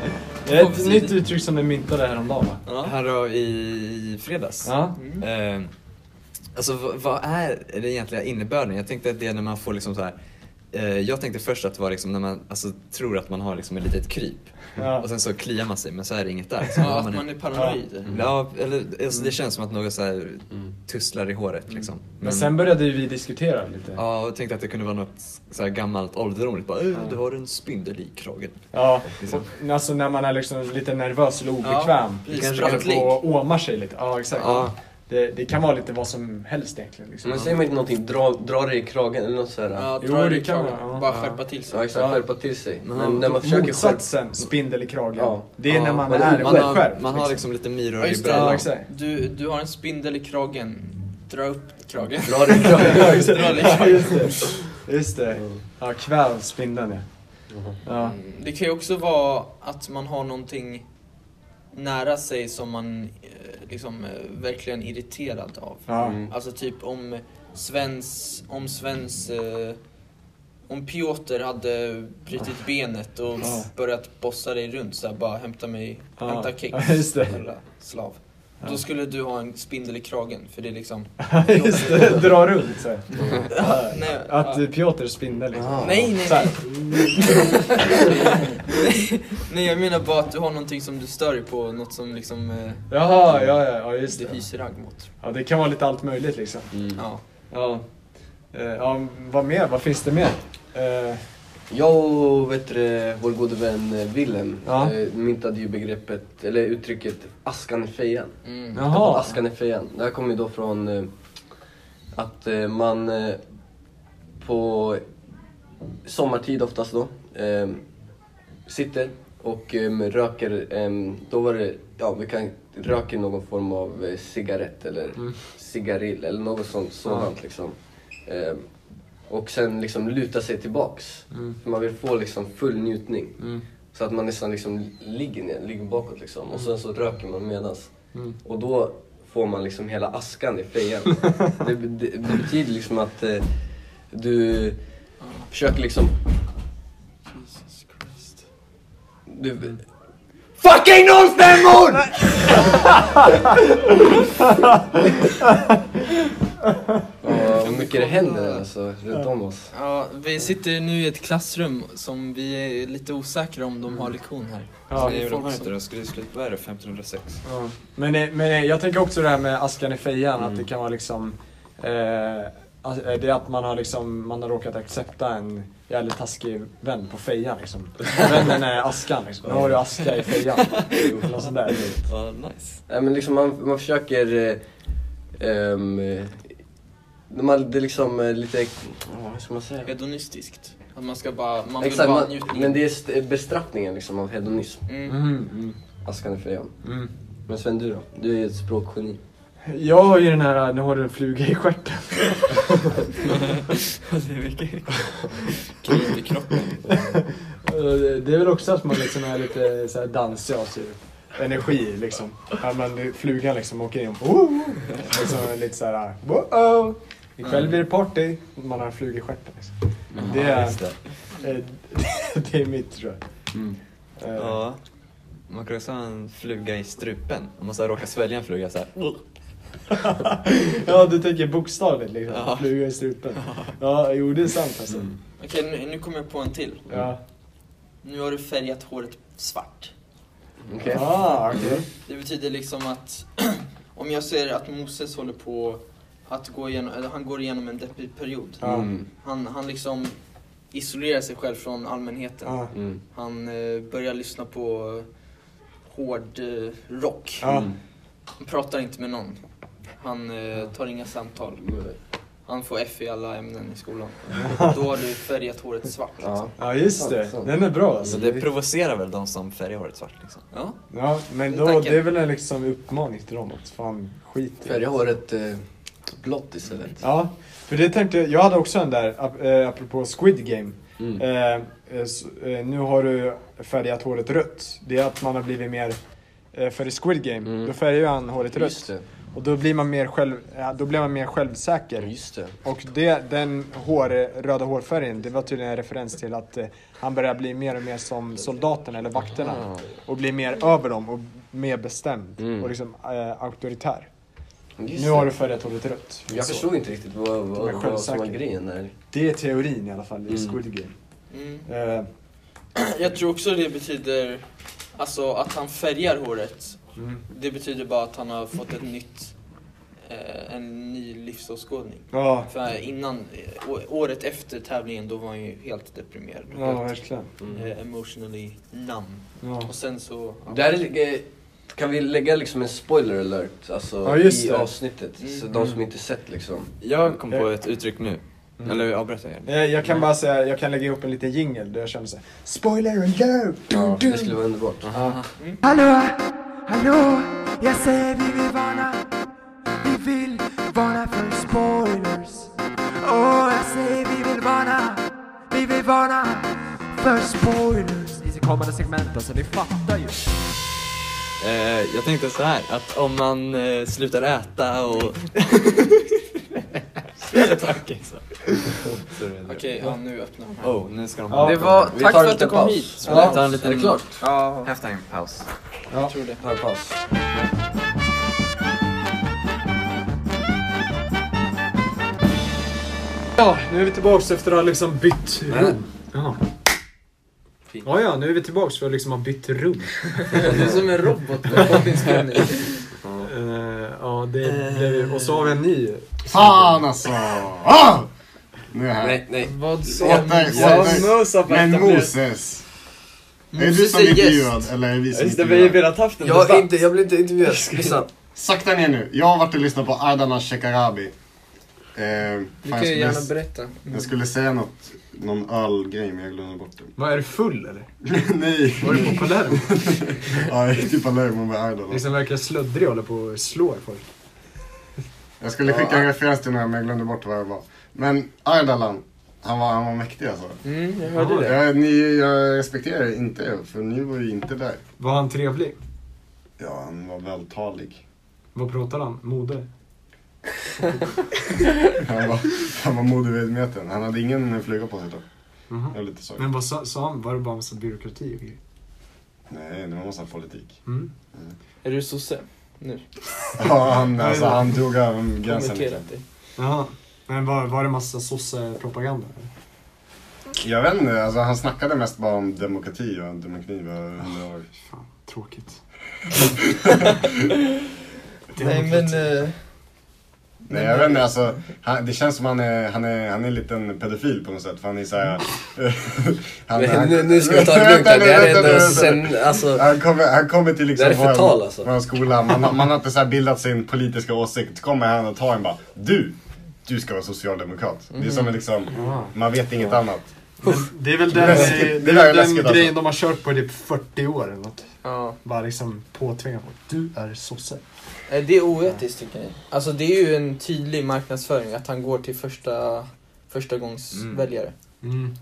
Det är ett nytt uttryck som är myntade häromdagen va? Ja. Här då i fredags. Ja. Mm. Eh, alltså v- vad är den egentliga innebörden? Jag tänkte att det är när man får liksom så här. Eh, jag tänkte först att det var liksom när man alltså, tror att man har liksom ett litet kryp Ja. och sen så kliar man sig men så är det inget där. Så Ja, har att man Mm. man är paranoid. Ja, eller alltså, det känns som att något så här tusslar i håret liksom. Men sen började ju vi diskutera lite. Ja. Ja, och tänkte att det kunde vara något så här gammalt ålderdomligt. Bara, "Eh, du har en spindel i kragen. Liksom. Och, alltså när man är liksom lite nervös eller Ja, obekväm. precis. kanske Eller Sprattlig. på åmar sig lite. Ja, exakt. Ja. Det, det kan vara lite vad som helst egentligen. Liksom. Men säger man inte någonting, dra, dra dig i kragen eller något sådär. Ja, Jo, dra det det i kan kragen. man, ja. Bara skärpa till sig. Ja exakt, Ja. skärpa till sig. Ja. Men när man försöker Motsatsen, spindel i kragen. Ja. Det är Ja, när man men är Man har, självskärpt. man har liksom. liksom lite myror Ja, i just det. Ja, brallan. exakt. Du, du har en spindel i kragen, dra upp kragen. skärpa, dra dig i kragen. Dra det i Ja, kragen. just det. Just det. Ja, kväv spindeln ja. ja. Det kan ju också vara att man har någonting nära sig som man eh, liksom eh, verkligen är irriterad av. Ja. Mm. Alltså typ om Svens, om Svens, eh, om Piotr hade brutit benet och Ah. Ja. börjat bossa dig runt så här, bara hämta mig, Ja. hämta kex, Ja, just det. jävla slav. Då skulle du ha en spindel i kragen för det är liksom... Just det, dra runt så. här. Nej, Att ja. eh, Piotr spindel liksom. nej, nej, Så här. nej. nej, jag menar bara att du har någonting som du stör dig på, något som liksom eh, Jaha, ja, ja, ja just du det. hyser agg mot. Mm. Ja, det kan vara lite allt möjligt liksom. Ja. Ja. Eh, ja, vad mer? Vad finns det mer? Eh, Jag och vet du, vår gode vän eh, Willem Ja. eh, myntade ju begreppet, eller uttrycket askan i fejan. Mm. Att jaha. Askan i fejan. Det här kommer ju då från eh, att eh, man eh, på sommartid oftast då eh, sitter och eh, röker, eh, då var det, ja vi kan röka någon form av eh, cigarett eller cigarill eller något sånt, sådant liksom. Eh, och sen liksom luta sig tillbaks. För man vill få liksom full njutning. Så att man nästan liksom ligger ner, ligger bakåt liksom. Och sen så röker man medans. Och då får man liksom hela askan i fejan. det, det, det betyder liksom att eh, du försöker liksom... Du, FUCKING nollstämmor! Ja, hur mycket det händer alltså runt om oss. Ja, vi sitter nu i ett klassrum som vi är lite osäkra om de har Mm. lektion här. Ja, det är folk som- då? Skulle det sluta, vad är det, 1506? Ja. Men, eh, men eh, jag tänker också det här med askan i fejan, att Mm. det kan vara liksom eh, att- eh, det är att man har, liksom, man har råkat acceptera en jävligt taskig vän på fejan liksom. Vännen är askan liksom. Nu har du aska i fejan. Eller Något sånt där. Ja, nice. Nej men liksom man, man försöker... Eh, ehm, eh, man, det är liksom eh, lite... Vad ska man säga? Hedonistiskt. Att man ska bara, man vill Exakt, bara ha man, njutning. men det är st- bestraffningen liksom av hedonism. Mm. Mm, mm, Askan i fejan. mm. Men Sven du då? Du är ju ett språkgeni. Jag har ju den här, nu har du en fluga i stjärten. det är mycket krig i kroppen. Eh, Det är väl också att man liksom är lite så här dansig av sig. Energi liksom. Ja, men flugan liksom åker in. Oh! Liksom lite såhär, wow! Ikväll blir det party. Man har en fluga i stjärten liksom. Det är- Mm. just det. Mm. Eh, det är mitt tror jag. Eh, Ja. Man kan också ha en fluga i strupen. Om man så här råkar svälja en fluga så här. ja, du tänker bokstavligt liksom. Ja. Mm. Fluga i strupen. Ja, jo det är sant alltså. Okej, nu, nu kommer jag på en till. Ja. Nu har du färgat håret svart. Okej? Ah, okej. Det betyder liksom att om jag ser att Moses håller på att gå igenom, eller han går igenom en deppig period. Ja. Mm. Han, han liksom isolerar sig själv från allmänheten. Ja. Mm. Han eh, börjar lyssna på eh, hård eh, rock. Mm. Ja. Han pratar inte med någon. Han eh, tar inga samtal. Han får F i alla ämnen i skolan. Då har du färgat håret svart. Liksom. Ja. ja, just det. Den är bra alltså. Så det provocerar väl de som färgar håret svart liksom. Ja. Ja, men då, Tackar. det är väl en liksom uppmaning till dem att fan skit i det. Färga håret eh, blått istället. Ja, för det tänkte jag, jag hade också en där, ap- eh, apropå Squid Game. Mm. Eh, eh, s- eh, nu har du färgat håret rött. Det är att man har blivit mer, eh, för i Squid Game, Mm. då färgar ju han håret Just rött. det. Och då blir man mer, själv, ja, då blir man mer självsäker. Just det. Och det, den hår, röda hårfärgen, det var tydligen en referens till att eh, han börjar bli mer och mer som soldaterna eller vakterna. Och blir mer över dem och mer bestämd Ah. Mm. och liksom eh, auktoritär. Just nu har du det. färgat håret rött. Jag Så. förstod inte riktigt vad, De är vad, vad som självsäkra. var grejen där. Det är teorin i alla fall i Mm. Squid Game. Mm. Eh, Jag tror också det betyder, alltså att han färgar håret. Det betyder bara att han har fått ett nytt, eh, en ny livsåskådning. ja, För innan, eh, å- året efter tävlingen, då var han ju helt deprimerad. ja helt, verkligen. Mm. eh, emotionally numb. Ja. Och sen så... Där är, eh, kan vi lägga liksom en spoiler alert alltså, Ja, just i det. Mm. avsnittet? Så de som inte sett liksom. Jag Mm. kom på ett uttryck nu. Eller avbryt jag Eh, Jag Mm. kan bara säga, jag kan lägga ihop en liten jingel där jag känner såhär Spoiler alert! Ja, det skulle vara underbart. Hallå, hallå, jag säger vi vill varna Vi vill varna för spoilers Åh, jag säger vi vill varna Vi vill varna för spoilers I sitt kommande segment alltså, ni fattar ju Eh, jag tänkte så här att om man eh, slutar äta och... Tack alltså. Okej, ja, nu öppnar han. Oh, nu ska de... Ja. Ja. Det var, Vi tar tack för en att du liten kom paus. hit. Ska vi ta en Är liten det klart? Ja, halftime-paus? jag tror det. Ta en paus. Ja, nu är vi tillbaks efter att ha liksom bytt rum. Ja. Ja, ja, nu är vi tillbaks för att liksom ha bytt rum. Du är som en robot på Robinson. Eh, ja, det blev ju- Och så har vi en ny. Fan alltså! Ah! Nu är jag här. Nej, nej. Vad Åter, åter. Men Moses. Är det du Moses som är är intervjuad gäst. eller är det vi som Just det, vi har ju intervjuar? velat haft en Jag, har debatt. inte, jag blir inte intervjuad. Lyssna. Sakta ner nu. Jag har varit och lyssnat på Ardalan Shekarabi. Eh, fan, Du jag kan ju skulle- gärna berätta. Jag skulle säga något, någon ölgrej men jag glömde bort det. Vad är du full eller? Nej. Var du på Palermo? ja, jag är typ Palermo med Ardalan. Liksom verkar sluddrig och håller på och slår folk. Jag skulle skicka en referens till den här men jag glömde bort vad det var. Men Ardalan, han var, han var mäktig alltså. Mm, jag Ja, hörde det. Jag, ni, jag respekterar er inte er, för ni var ju inte där. Var han trevlig? Ja, han var vältalig. Vad pratade han? Mode? Han var, han var modemedveten. Han hade ingen fluga på sig då. Mhm. Det var lite sorgligt. Men vad sa, sa han? Var det bara en massa byråkrati och grejer? Nej, det var massa politik. Mm. Är du sosse? Nu. Ja, han, alltså, han drog över gränsen lite. Kommenterat dig. Jaha. Men var, var det massa sossepropaganda? eller? Jag vet inte, alltså, han snackade mest bara om demokrati och demokrati var hundra år. Fan, tråkigt. Nej men... eh, Nej jag vet inte, alltså, han, det känns som han är, han är, han är en liten pedofil på något sätt. För han är såhär... han, Men Nu, nu ska vi ta det lugnt här. Det här är ändå sen, alltså. Han kommer, han kommer till liksom Det här är förtal, vår- alltså. vår skola, man, har- man har inte så här bildat sin politiska åsikt. Så kommer han och tar en bara, du, du ska vara socialdemokrat. Det är som Mm. en liksom, man vet inget annat. Men det är väl den, Läskigt. det är Det där är den läskigt, grejen alltså. de har kört på i typ 40 år eller något. Ja. Bara liksom påtvinga folk. Du är sosse. Nej, Det är oet. eh, Oetiskt tycker jag. Alltså det är ju en tydlig marknadsföring att han går till första, första gångs väljare. Mm.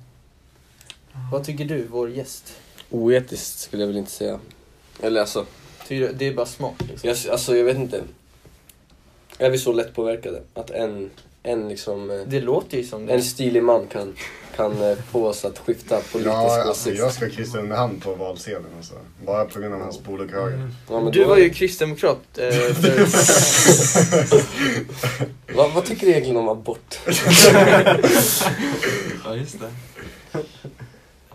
Vad tycker du, vår gäst? Oetiskt skulle jag väl inte säga. Eller alltså, Tycker du, det är bara smart liksom. jag, alltså, jag vet inte. Är vi så lättpåverkade? Att en, en liksom... eh, Det låter ju som En det. stilig man kan, kan eh, få oss att skifta politisk Ja, alltså, åsikt. jag ska kryssa under hand på valsedeln alltså. Bara på grund av hans polokrage. Mm. Ja, men Du då- var ju kristdemokrat. Eh, för... vad, vad tycker du egentligen om abort? Ja, just det. eh,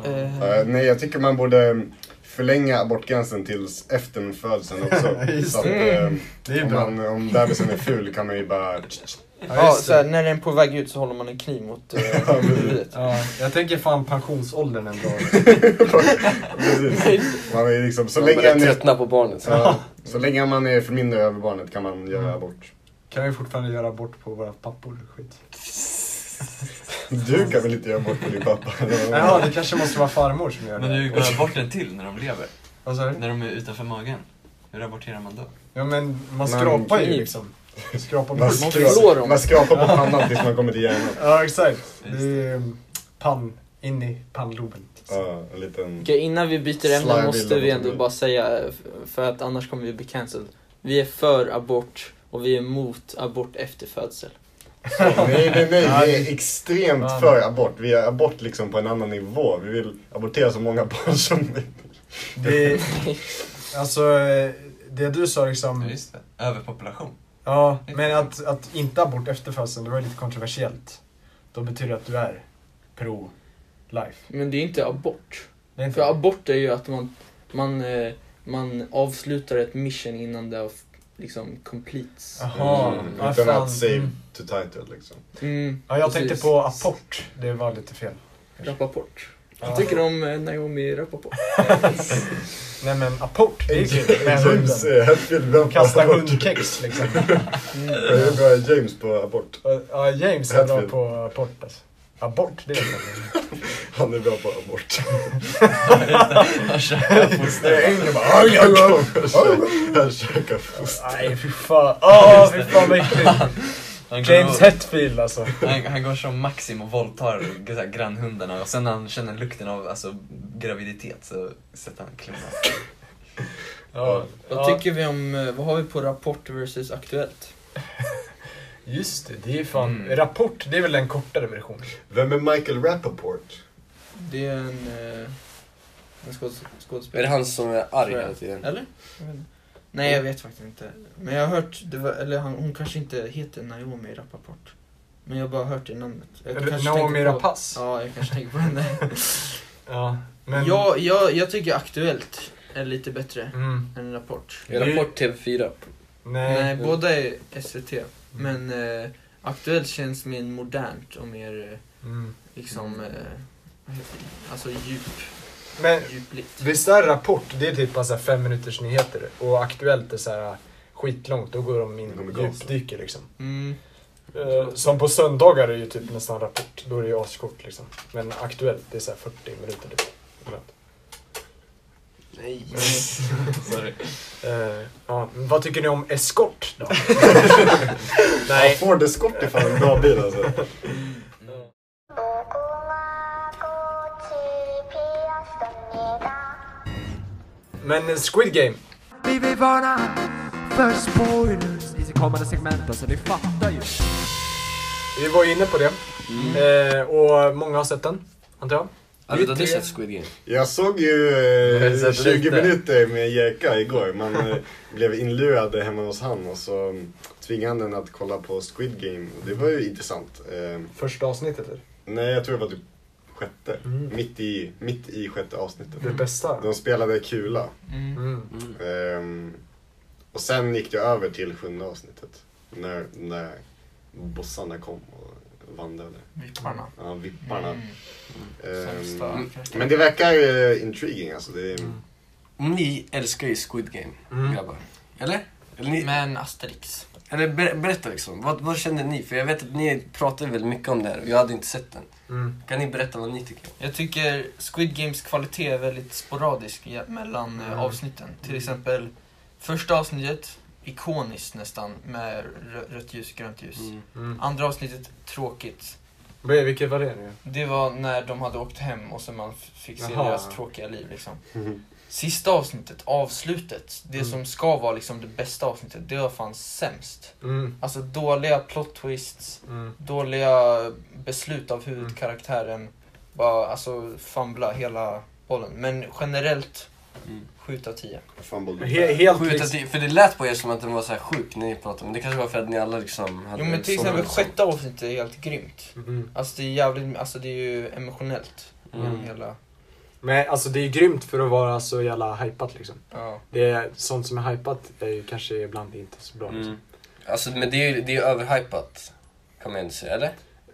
Eh, nej, jag tycker man borde mm, förlänga abortgränsen tills efter födseln också. så att, eh, Det är om, bra. man, om bebisen är ful kan man ju bara... ja, så här, när den är på väg ut så håller man en kniv mot eh, huvudet. Ja, jag tänker fan pensionsåldern en bra. Precis. Man är liksom, så, Man länge börjar man är, tröttna på barnet. ja, så länge man är förmyndare över barnet kan man göra Mm. abort. Kan vi fortfarande göra abort på våra pappor? Skit. Du kan väl inte göra abort på din pappa? Ja, det kanske måste vara farmor som gör Men det. hur går aborten till när de lever? Vad sa du? När de är utanför magen? Hur aborterar man då? Ja men man Man- skrapar ju liksom. Skrapar typ. Man, bort. slår skra- dem. man skrapar på pannan tills man kommer till hjärnan. Ja exakt. Det är um, pann, in i pannloben. Ja, en liten... Okej, innan vi byter ämne Slime måste vill vi ha ändå det. bara säga, eh, f- för att annars kommer vi bli cancelled. Vi är för abort och vi är emot abort efter födsel. Nej, nej, nej. Vi är extremt Fan. för abort. Vi är abort liksom på en annan nivå. Vi vill abortera så många barn som möjligt. Det, alltså eh, det du sa Ja, liksom. just det. Överpopulation. Ja, men att, att inte abort efter födseln, det var ju lite kontroversiellt. Då betyder det att du är pro-life. Men det är inte abort. Det är inte- För abort är ju att man, man, eh, man avslutar ett mission innan det har f- liksom completes. Jaha, Mm, vad utan fan. att save Mm. to title liksom. Mm, Ja, jag precis. tänkte på apport. Det var lite fel. Rappaport. Ja. Jag tycker om eh, Naomi Rappaport. Nej men apport, det är kul. Med hunden. James eh, Hetfield bra på Kasta abort. hundkex liksom. Jag är bra i James på abort. Ja, James är bra på abort alltså. Abort, det är det. Han är bra på abort. Nej, Engel bara Han käkar- Han käkar foster. Nej fy fan, åh fy fan vad äckligt. Han James går, Hetfield alltså. han, han går som Maxim och våldtar så här, grannhundarna och sen när han känner lukten av alltså, graviditet så sätter han klungan. Ja, Vad tycker vi om, eh, vad har vi på Rapport versus Aktuellt? just det, det är fan. Mm. Rapport, det är väl en kortare version. Vem är Michael Rappaport? Det är en, eh, en skådes- Är det skådespelare. han som är arg Tror jag. hela tiden? Eller? Jag vet inte. Nej, jag vet faktiskt inte. Men jag har hört, det var, eller han, hon kanske inte heter Naomi Rappaport. Men jag har bara hört det namnet. Jag kanske Naomi tänker på- Rapace. Ja, jag kanske tänker på henne. Ja, men... Jag, jag, jag tycker Aktuellt är lite bättre Mm, än Rapport. Rapport TV4. nej. Nej, båda är SVT. Men eh, Aktuellt känns mer modernt och mer eh, Mm. liksom, eh, vad heter det? alltså djup, Men djupligt. visst är Rapport, det är typ bara så här fem minuters nyheter och Aktuellt är så här äh, skitlångt, då går de in och djupdyker liksom. Mm. Eh, Som på söndagar är ju typ nästan Rapport, då är det ju askort liksom. Men Aktuellt, det är så här 40 minuter typ. ibland. Nej. Sorry. Eh, ja, men vad tycker ni om Escort då? Nej. Ford Escort är fan en bra bil alltså. Men eh, Squid Game. Vi vill varna för spoilers i kommande segment alltså, ni fattar ju. Vi var ju inne på det. Eh, och många har sett den, antar jag. Ja, vänta, du har sett Squid Game? Jag såg ju Jag har eh, sett 20 lite. minuter med Jeka igår. Man eh, blev inlurad hemma hos han och så mm, tvingade han den att kolla på Squid Game. Och Det var ju intressant. Eh, Första avsnittet eller? Nej, jag tror det var typ sjätte. Mitt, i, mitt i sjätte avsnittet. Det bästa. De spelade kula. Mm. Ehm, och sen gick det över till sjunde avsnittet. När, när bossarna kom och vandrade. Vipparna. Ja, vipparna. Mm. Ehm, Sämsta karaktären. men det verkar uh, intriguing alltså. Det är, Ni älskar ju Squid Game, Mm. grabbar. Eller? eller ni... Mm. Men Asterix. Eller ber, berätta liksom, vad, vad kände ni? För jag vet att ni pratade väldigt mycket om det här och jag hade inte sett den. Mm. Kan ni berätta vad ni tycker? Jag tycker Squid Games kvalitet är väldigt sporadisk i- mellan eh, Mm. avsnitten. Till exempel första avsnittet, ikoniskt nästan med rö- rött ljus, grönt ljus. Mm. Andra avsnittet, tråkigt. Vad är- Vilket var det nu? Det var när de hade åkt hem och så man f- fick se Jaha. deras tråkiga liv liksom. Sista avsnittet, avslutet, det Mm. som ska vara liksom det bästa avsnittet, det var fan sämst. Mm. Alltså dåliga plot twists, Mm. dåliga beslut av huvudkaraktären. Bara, alltså famla hela bollen. Men generellt, Mm. 7 av 10. He- helt Sjukt liksom- att ni, För det lät på er som att den var så här sjuk när ni pratade, men det kanske var för att ni alla liksom hade Jo men till såg den exempel som- sjätte avsnittet är helt grymt. Mm. Alltså det är jävligt, alltså det är ju emotionellt. Mm. Hela, Men alltså det är ju grymt för att vara så jävla hypat liksom. ja. Det är, sånt som är hypat är ju kanske ibland inte så bra. Liksom. Mm. Alltså men det är ju det är ju överhypat, kan man ju inte säga, eller?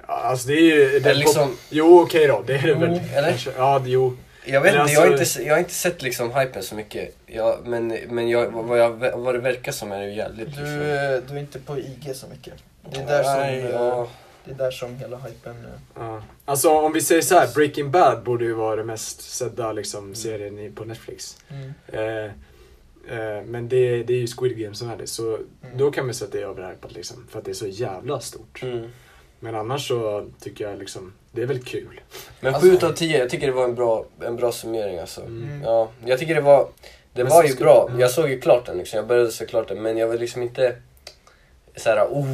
Ja, Alltså det är ju... Det Eller liksom- Jo okej då, det är det väl. Jo, eller? Kanske, ja, det- jo. Jag vet Men inte, jag, har alltså- inte, se- jag har inte sett liksom hypen så mycket. Jag, men men jag, vad, jag, vad det verkar som är det ju jävligt Du, liksom. eh, du är inte på IG så mycket. Det är där som, Nej, eh, ja. det är där som hela hypen... eh, Ja. Alltså om vi säger så här, Breaking Bad borde ju vara den mest sedda Mm. liksom, serien i- på Netflix. Mm. Eh, eh, men det, det är ju Squid Game som är det, så Mm. då kan man säga att det är överhypat liksom. För att det är så jävla stort. Mm. Men annars så tycker jag liksom, det är väl kul. Men Alltså- 7 utav 10, jag tycker det var en bra, en bra summering alltså. Mm. Ja, jag tycker det var, det Men var så ju ska- bra. mm. Jag såg ju klart den liksom, jag började se klart den men jag var liksom inte såhär oh,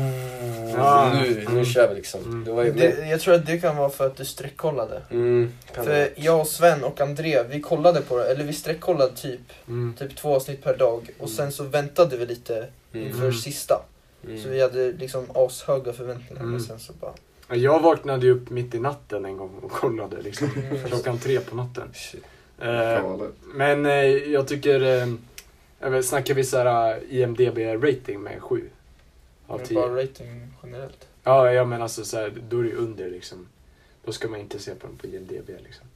Ah. Ja. nu, nu Mm. kör vi liksom. Det var ju Det, jag tror att det kan vara för att du streckkollade. Mm, kan För jag och Sven och André, vi kollade på det, eller vi streckkollade typ, Mm. typ två avsnitt per dag och sen så väntade vi lite Mm. inför sista. Mm. Så vi hade liksom ashöga förväntningar Mm. men sen så bara... Jag vaknade ju upp mitt i natten en gång och kollade liksom. Mm. Klockan tre på natten. Galet. Eh, men eh, jag tycker, eh, jag vet, snackar vi såhär IMDB-rating med 7 av det 10? var bara rating generellt. Ja, ja men alltså såhär, då är det ju under liksom. Då ska man inte se på den på IMDB liksom.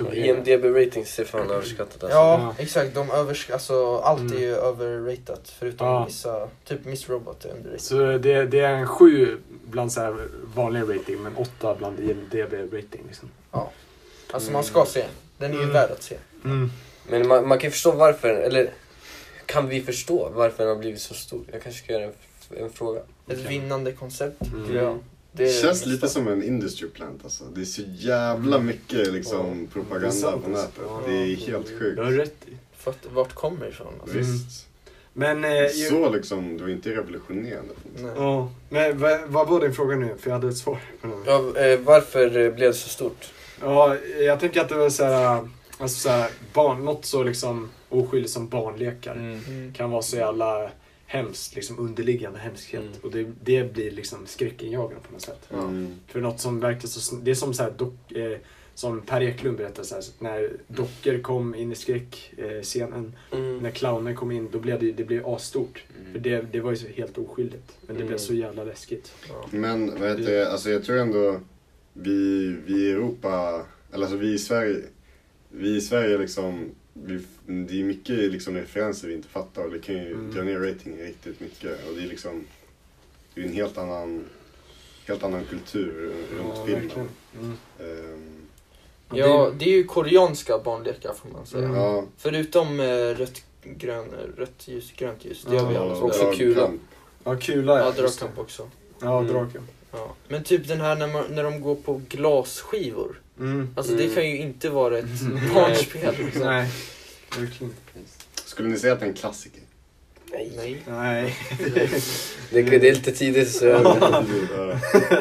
Ja, E IMDB ratings är fan överskattat alltså. Ja, exakt. De översk- alltså, allt är ju överratat förutom Ja. vissa, typ Miss Robot är underrated. Så det, det är en 7 bland så här vanlig rating men 8 bland IMDB-rating liksom. Ja. Alltså man ska se. Den är ju värd att se. Mm. Men man, man kan ju förstå varför, eller kan vi förstå varför den har blivit så stor? Jag kanske ska göra en, en fråga. Ett vinnande koncept. Mm. tycker jag. Det Det är liksom känns lite som en industry plant alltså. Det är så jävla Mm. mycket liksom, propaganda på nätet. Det är helt sjukt. Du har rätt i. För att, vart kommer det ifrån? Alltså? Visst. Men, eh, ju- Så liksom, det var inte revolutionerande. Ja. Men vad, vad var din fråga nu? För jag hade ett svar på den. Ja, eh, varför eh, blev det så stort? Ja, jag tänker att det var så här, alltså så här, barn, något så liksom oskyldigt som barnlekar kan vara så jävla hemskt, liksom underliggande hemskhet. Och det, det blir liksom skräckinjagande på något sätt. Mm. För något som verkar så, sn- det är som så här dok, eh, som Per Eklund berättade, så här, när dockor kom in i skräckscenen, när clowner kom in, då blev det, det blev asstort. För det, det var ju så helt oskyldigt, men det blev så jävla läskigt. Men vad heter det, alltså jag tror ändå vi, vi i Europa, eller alltså vi i Sverige, vi i Sverige liksom, vi, det är mycket liksom referenser vi inte fattar och det kan ju Mm. dra ner ratingen riktigt mycket. Och det är liksom, det är en helt annan, helt annan kultur runt Ja, filmen. verkligen. Mm. Ehm, Ja, det är ju koreanska barnlekar får man säga. Mm. Ja. Förutom eh, rött, grön, eh, rött ljus, grönt ljus. Det har vi alla också spelat. kula. Ja, kula Ja, just dragkamp också. det. Ja, dragkamp. Ja. Men typ den här när, man, när de går på glasskivor. Mm. Alltså det Mm. kan ju inte vara ett barnspel. Liksom. Nej, verkligen. Skulle ni säga att det är en klassiker? Nej. Nej. Det, det är lite tidigt så jag...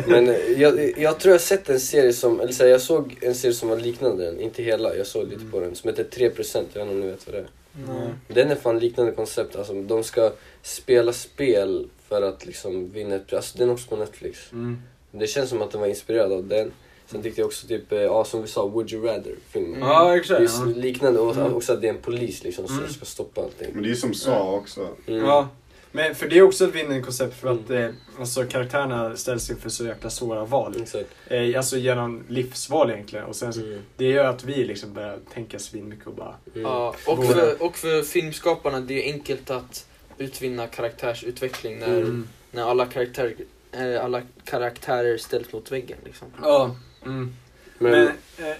Men eh, jag, jag tror jag sett en serie som, eller så här, jag såg en serie som var liknande den, inte hela, jag såg lite på den, som heter 3%, jag vet inte om ni vet vad det är. Nej. Den är fan liknande koncept, alltså de ska spela spel för att liksom vinna ett pris, alltså den är också på Netflix. Mm. Det känns som att den var inspirerad av den. Sen tyckte jag också typ, eh, ja som vi sa, Would You Rather filmen. Mm. Ja, exakt, Just ja. liknande, och Mm. också att det är en polis liksom som Mm. ska stoppa allting. Men det är ju som Saw också. Mm. Ja, men för det är också ett vinnande koncept för att eh, alltså, karaktärerna ställs inför så jäkla svåra val. Mm. Exakt. Eh, alltså genom livsval egentligen. Och sen, Mm. så- Det gör att vi liksom börjar tänka svinmycket och bara... Ja, och, Både- för, och för filmskaparna, det är enkelt att utvinna karaktärsutveckling när, Mm. när alla, karaktär, eh, alla karaktärer ställs mot väggen. Liksom. Ja. Mm. Men, Men,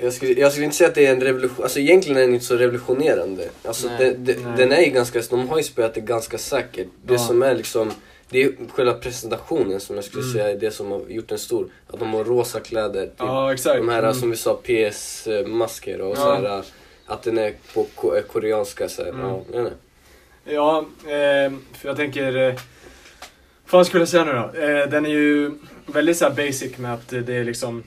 jag, skulle, jag skulle inte säga att det är en revolution, alltså egentligen är den inte så revolutionerande. Alltså Nej. det, det, Nej. den är ju ganska, de har ju spelat det ganska säkert. Det Ja. som är liksom, det är själva presentationen som jag skulle Mm. säga är det som har gjort den stor. Att de har rosa kläder, typ. Ja, exakt. de här Mm. som vi sa PS-masker och Ja. så här att den är på ko- eh, koreanska så här. Mm. Ja, nej, nej. Ja, eh, för jag tänker... Eh, vad skulle jag säga nu då? Eh, den är ju väldigt så här basic med att eh, det är liksom...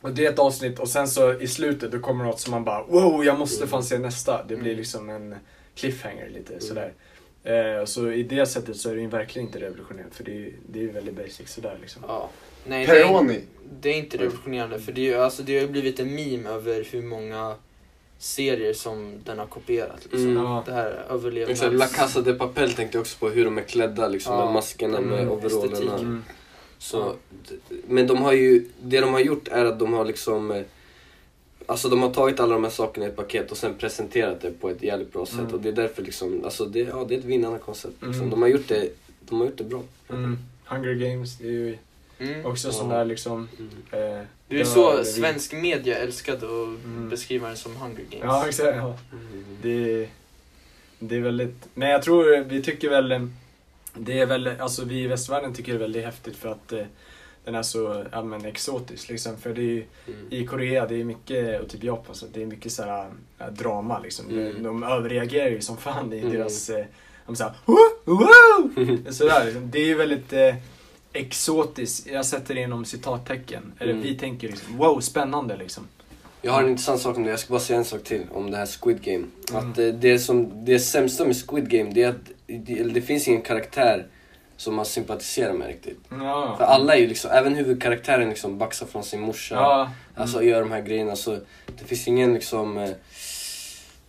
Och det är ett avsnitt och sen så i slutet då kommer något som man bara wow, jag måste fan se nästa. Det Mm. blir liksom en cliffhanger lite sådär. Eh, så i det sättet så är det ju verkligen inte revolutionerande för det är ju det är ju väldigt basic sådär liksom. Ja. Nej, det, är, Peroni. det är inte revolutionerande för det, är, ju- alltså, det har ju blivit en meme över hur många serier som den har kopierat. Liksom. Mm. Ja. Det här överlevnads... Exakt, La Casa de Papel tänkte jag också på hur de är klädda liksom Ja. med maskerna med Mm, overallerna. estetiken. Mm. Så, d- men de har ju, det de har gjort är att de har liksom eh, Alltså de har tagit alla de här sakerna i ett paket och sen presenterat det på ett jävligt bra sätt Mm. och det är därför liksom, alltså det, ja, det är ett vinnande koncept. Liksom. Mm. De, har gjort det, de har gjort det bra. Mm. Hunger Games, det är ju Mm. också sån Ja. där liksom... Eh, Det är ju död så eller- svensk media älskade att beskriva den som Hunger Games. Mm. Ja, exakt. Ja. Det, det är väldigt... Nej, jag tror vi tycker väl... Det är väl, alltså vi i västvärlden tycker det är väldigt häftigt för att eh, den är så ja, men, exotisk. Liksom. För det är ju, i Korea, det är mycket, och typ Japan, så det är mycket så här, ja, drama liksom. De, de överreagerar ju som fan i Mm. deras... Eh, de såhär wow, wow! Sådär liksom. Det är ju väldigt eh, exotiskt, jag sätter det inom citattecken. Eller Mm. vi tänker liksom, wow, spännande liksom. Jag har en intressant sak om det, jag ska bara säga en sak till om det här Squid Game. Mm. Att eh, det, som, det sämsta med Squid Game det är att det, eller det finns ingen karaktär som man sympatiserar med riktigt. Ja. För alla är ju liksom, även huvudkaraktären liksom baxar från sin morsa. Ja. Mm. Alltså gör de här grejerna så det finns ingen liksom... eh,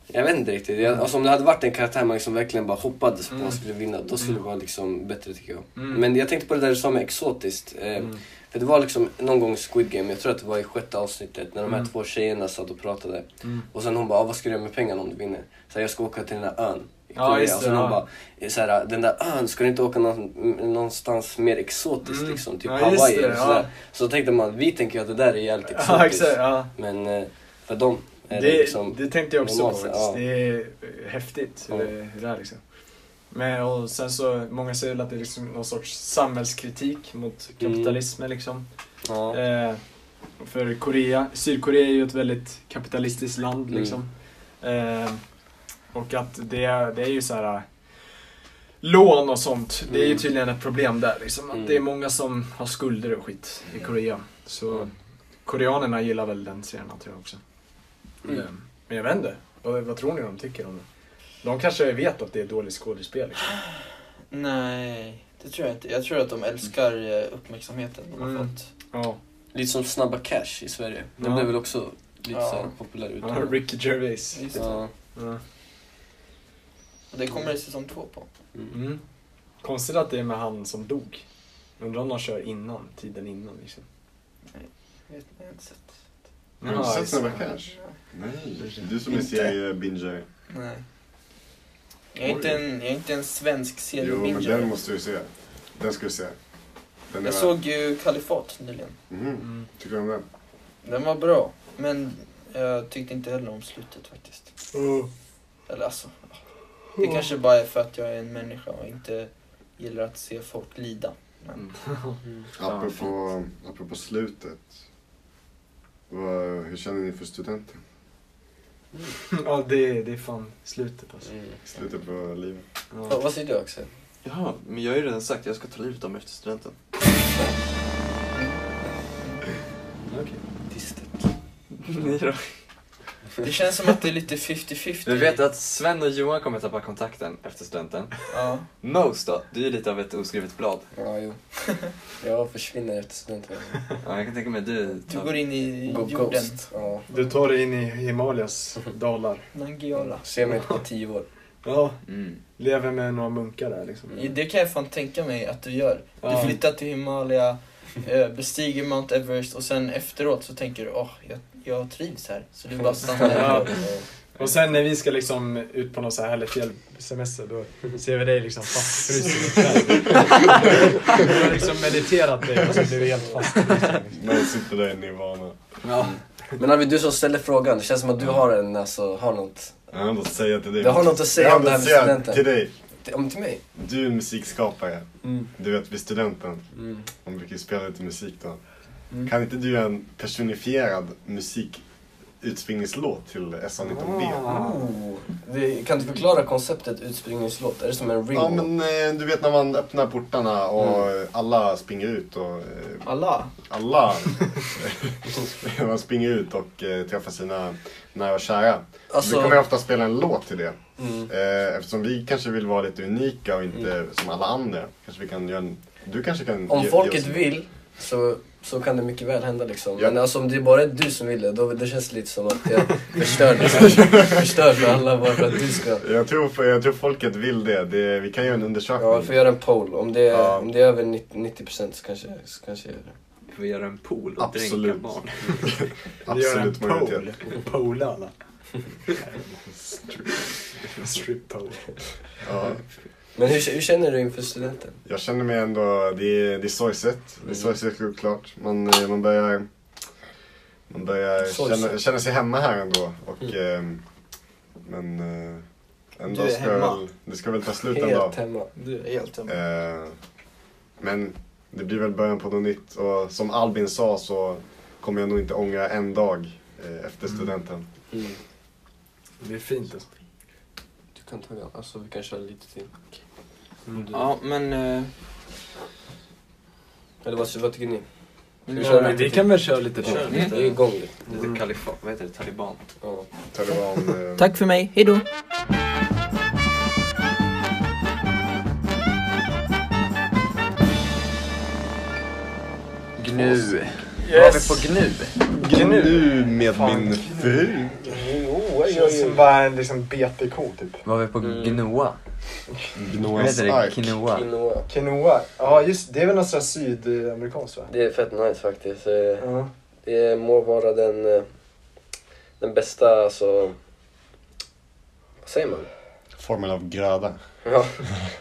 Jag vet inte riktigt. Jag, alltså, om det hade varit en karaktär man liksom verkligen bara hoppades på att han skulle vinna, då skulle det vara liksom bättre tycker jag. Mm. Men jag tänkte på det där du sa med exotiskt. Eh, För det var liksom någon gång i Squid Game, jag tror att det var i sjätte avsnittet, när de här Mm. två tjejerna satt och pratade. Mm. Och sen hon bara, ah, vad ska du göra med pengarna om du vinner? Så här, jag ska åka till den där ön. i Ja, Korea." just och sen det, hon ja. bara, eh, så här, den där ön, ska du inte åka någon, mm, någonstans mer exotiskt Mm. liksom? Typ Ja, just Hawaii det, eller ja. sådär. Så tänkte man, vi tänker ju att det där är jävligt exotiskt. Ja, exakt, ja. Men eh, för dem Det, är det, liksom... det tänkte jag också på normalt, faktiskt. ja. Det är eh, häftigt hur Ja. det, hur det är liksom. Men, och sen så, många säger väl att det är liksom någon sorts samhällskritik mot kapitalismen Mm. liksom. Ja. Eh, för Korea, Sydkorea är ju ett väldigt kapitalistiskt land Mm. liksom. Eh, och att det, är- det är ju så här eh, lån och sånt, det är ju Mm. tydligen ett problem där liksom. Att Mm. det är många som har skulder och skit i Korea. Så koreanerna gillar väl den serien tror jag också. Mm. Eh, Men jag vet inte. Vad, vad tror ni de tycker om det? De kanske vet att det är dåligt skådespel. Liksom. Nej, det tror jag inte. Jag tror att de älskar eh, uppmärksamheten de har Mm. fått. Ja. Lite som Snabba Cash i Sverige. Den Ja. blev väl också lite Ja. så här populär ut. Ja, Ricky Gervais. Just det. Ja. Det kommer det säsong två på. Mm. Konstigt att det är med han som dog. Undrar om de kör innan, tiden innan liksom. Vet ni, jag har inte sett. Har du Ja, sett just det. Snabba Cash? Nej. Du som är Inte. seriebingare. Nej. Jag är, inte en, jag är inte en svensk Jo, men seriebingare. den måste du se. Den ska du se. Den är Jag värd- såg ju Kalifat nyligen. Mm. Mhm. Tycker du om den? Den var bra, men jag tyckte inte heller om slutet faktiskt. Eller alltså, det kanske bara är för att jag är en människa och inte gillar att se folk lida. Men, Apropå, apropå slutet. Vad, hur känner ni för studenten? ja, det, det är fan slutet alltså. Slutet på livet? Vad- vad säger du Axel? Jaha, men jag har ju redan sagt att jag ska ta livet av mig efter studenten. Ni då? Det känns som att det är lite 50-50. Vi vet att Sven och Johan kommer tappa kontakten efter studenten. Ja. Mos då? Du är ju lite av ett oskrivet blad. Ja, jo. Jag försvinner efter studenten. Ja, jag kan tänka mig att du... Du går in i Go jorden. Ghost. Ja. Du tar dig in i Himalayas dalar. Nangijala. Se mig på tio år. Ja, Mm. lever med några munkar där liksom. Det kan jag fan tänka mig att du gör. Ja. Du flyttar till Himalaya, eh, bestiger Mount Everest och sen efteråt så tänker du åh, jag, jag trivs här. Så du bara stannar Ja. där. Och sen när vi ska liksom ut på någon så här härlig fjällsemester då ser vi dig liksom fast frusen i träd. Du har liksom mediterat dig och så blir du helt fast. liksom. Man sitter där i nirvana. Ja. Mm. Men Arvid, du som ställer frågan. Det känns som att du har en, alltså, har något. Jag har något att säga till dig. Du har något att säga Jag har om det här något med att säga studenten. Till dig. Om till mig? Du är musikskapare. Mm. Du vet, vid studenten. Mm. Man brukar ju spela lite musik då. Kan inte du göra en personifierad musikutspringningslåt till SA19B? Oh. Det, kan du förklara konceptet utspringningslåt? Är det som en ring? Ja men eh, du vet när man öppnar portarna och Mm. eh, alla springer ut och... eh, Alla? Alla! man springer ut och eh, träffar sina nära och kära. Alltså- Vi kommer ju ofta spela en låt till det. Mm. Eh, Eftersom vi kanske vill vara lite unika och inte som alla andra. Kanske vi kan göra en... Du kanske kan... Om ge- ge folket oss- vill så, så kan det mycket väl hända liksom. Ja. Men alltså, om det bara är du som vill det, då det känns lite som att jag förstör, liksom. förstör för alla bara för att du ska. Jag tror, jag tror folket vill det. det. Vi kan göra en undersökning. Ja, vi får göra en poll. Om det är, Ja. om det är över 90%, 90% så kanske, så kanske jag gör det. Får vi göra en pool och Absolut. dränka barn? Vi gör en Absolut pole majoritet. och polar alla. Strip pole. Ja. Men hur, hur känner du inför studenten? Jag känner mig ändå, det är, det är sorgset. Det är sorgset självklart. Man, eh, man börjar, man börjar Sorgset. känna, känna sig hemma här ändå. Och, eh, men eh, en Du dag är ska hemma. väl, det ska väl ta slut en dag. Helt hemma. Du är helt hemma. Eh, men det blir väl början på något nytt. Och som Albin sa så kommer jag nog inte ångra en dag eh, efter studenten. Mm. Det är fint alltså. Du kan ta den. Alltså, vi kan köra lite till. Ja, men... eh, Eller vad, vad tycker ni? Ska Ja, köra men lite vi till? kan väl köra lite Ja, till. Det är igång lite. Lite kalifat, vad heter det? Taliban? Ja. Taliban, eh, Tack för mig, hejdå! Gnu. Yes. Vad har vi på gnu? Gnu med min fru. Känns som bara en liksom BTK typ. Vad har vi på gnoa? Vad Gnoas heter det? ark. Quinoa? Quinoa. Quinoa. Ja just det, är väl något sånt här sydamerikanskt va? Det är fett nice faktiskt. Eh, Ja. Det må vara den, eh, den bästa, alltså... Vad säger man? Formen av gröda. Ja.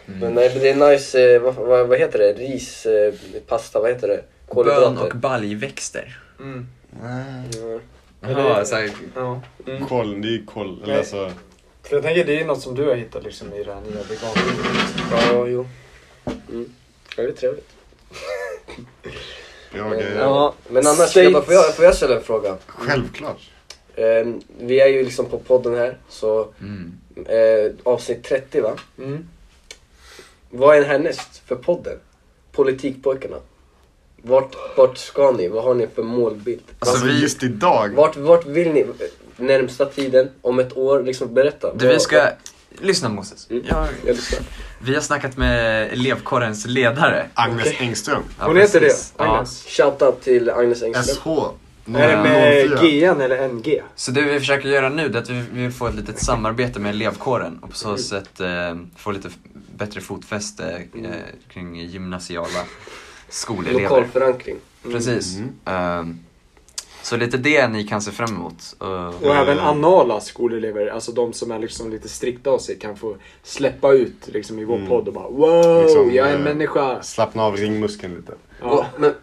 Mm. Men nej, det är nice, eh, vad, vad, vad heter det? Ris, eh, pasta, vad heter det? Bön och baljväxter. Mm. Mm. Jaha, såhär... Ja. Kol, det är ju kol. Eller Nej. alltså, För jag tänker det är något som du har hittat liksom i det här nya veganlivet. Ja, jo. Mm. Ja, det är trevligt. bra Eh, grejer. ja. Men annars, jag bara, får, jag, får jag ställa en fråga? Självklart. Eh, vi är ju liksom på podden här, så Mm. eh, avsnitt 30 va? Vad är härnäst för podden? Politikpojkarna. Vart, vart ska ni? Vad har ni för målbild? Alltså vi- just idag. Vart, vart vill ni närmsta tiden, om ett år? Liksom berätta. Du, vi ska... lyssna Moses. Jag, vi har snackat med elevkårens ledare. Agnes Engström. Hon heter det, Agnes. Shoutout till Agnes Engström. SH. Är det med GN eller NG? Så det vi försöker göra nu det är att vi vi vill få ett litet samarbete med elevkåren och på så sätt eh, få lite f- bättre fotfäste eh, kring gymnasiala skolelever. Lokal förankring. Precis. Mm. Ehm, så lite det ni kan se fram emot. eh. Och även anala skolelever, alltså de som är liksom lite strikta av sig kan få släppa ut liksom i vår podd och bara wow, Mm. Liksom, jag är en eh, människa. Slappna av ringmuskeln lite. Vad- Men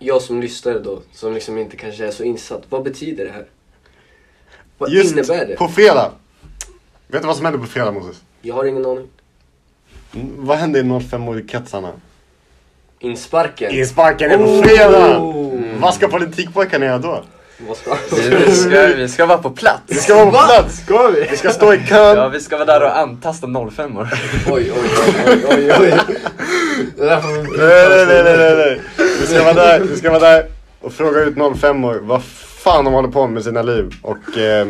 jag som lyssnare då, som liksom inte kanske är så insatt. Vad betyder det här? Vad Just innebär det? På fredag. Vet du vad som händer på fredag Moses? Jag har ingen aning. Mm, Vad händer i 05-kretsarna? Insparken. Insparken är på Oh! fredag! Vad ska politikpojkarna göra då? Vad ska- Vi ska, vi ska vara på plats. Vi ska vara på plats! Ska vi? ska stå i kön. Ja, vi ska vara där och antasta 05 år. Oj, oj, oj, oj, oj. Nej, nej, nej, nej, nej, nej. Vi ska vara där, vi ska vara där och fråga ut 05-or vad fan de håller på med sina liv och eh,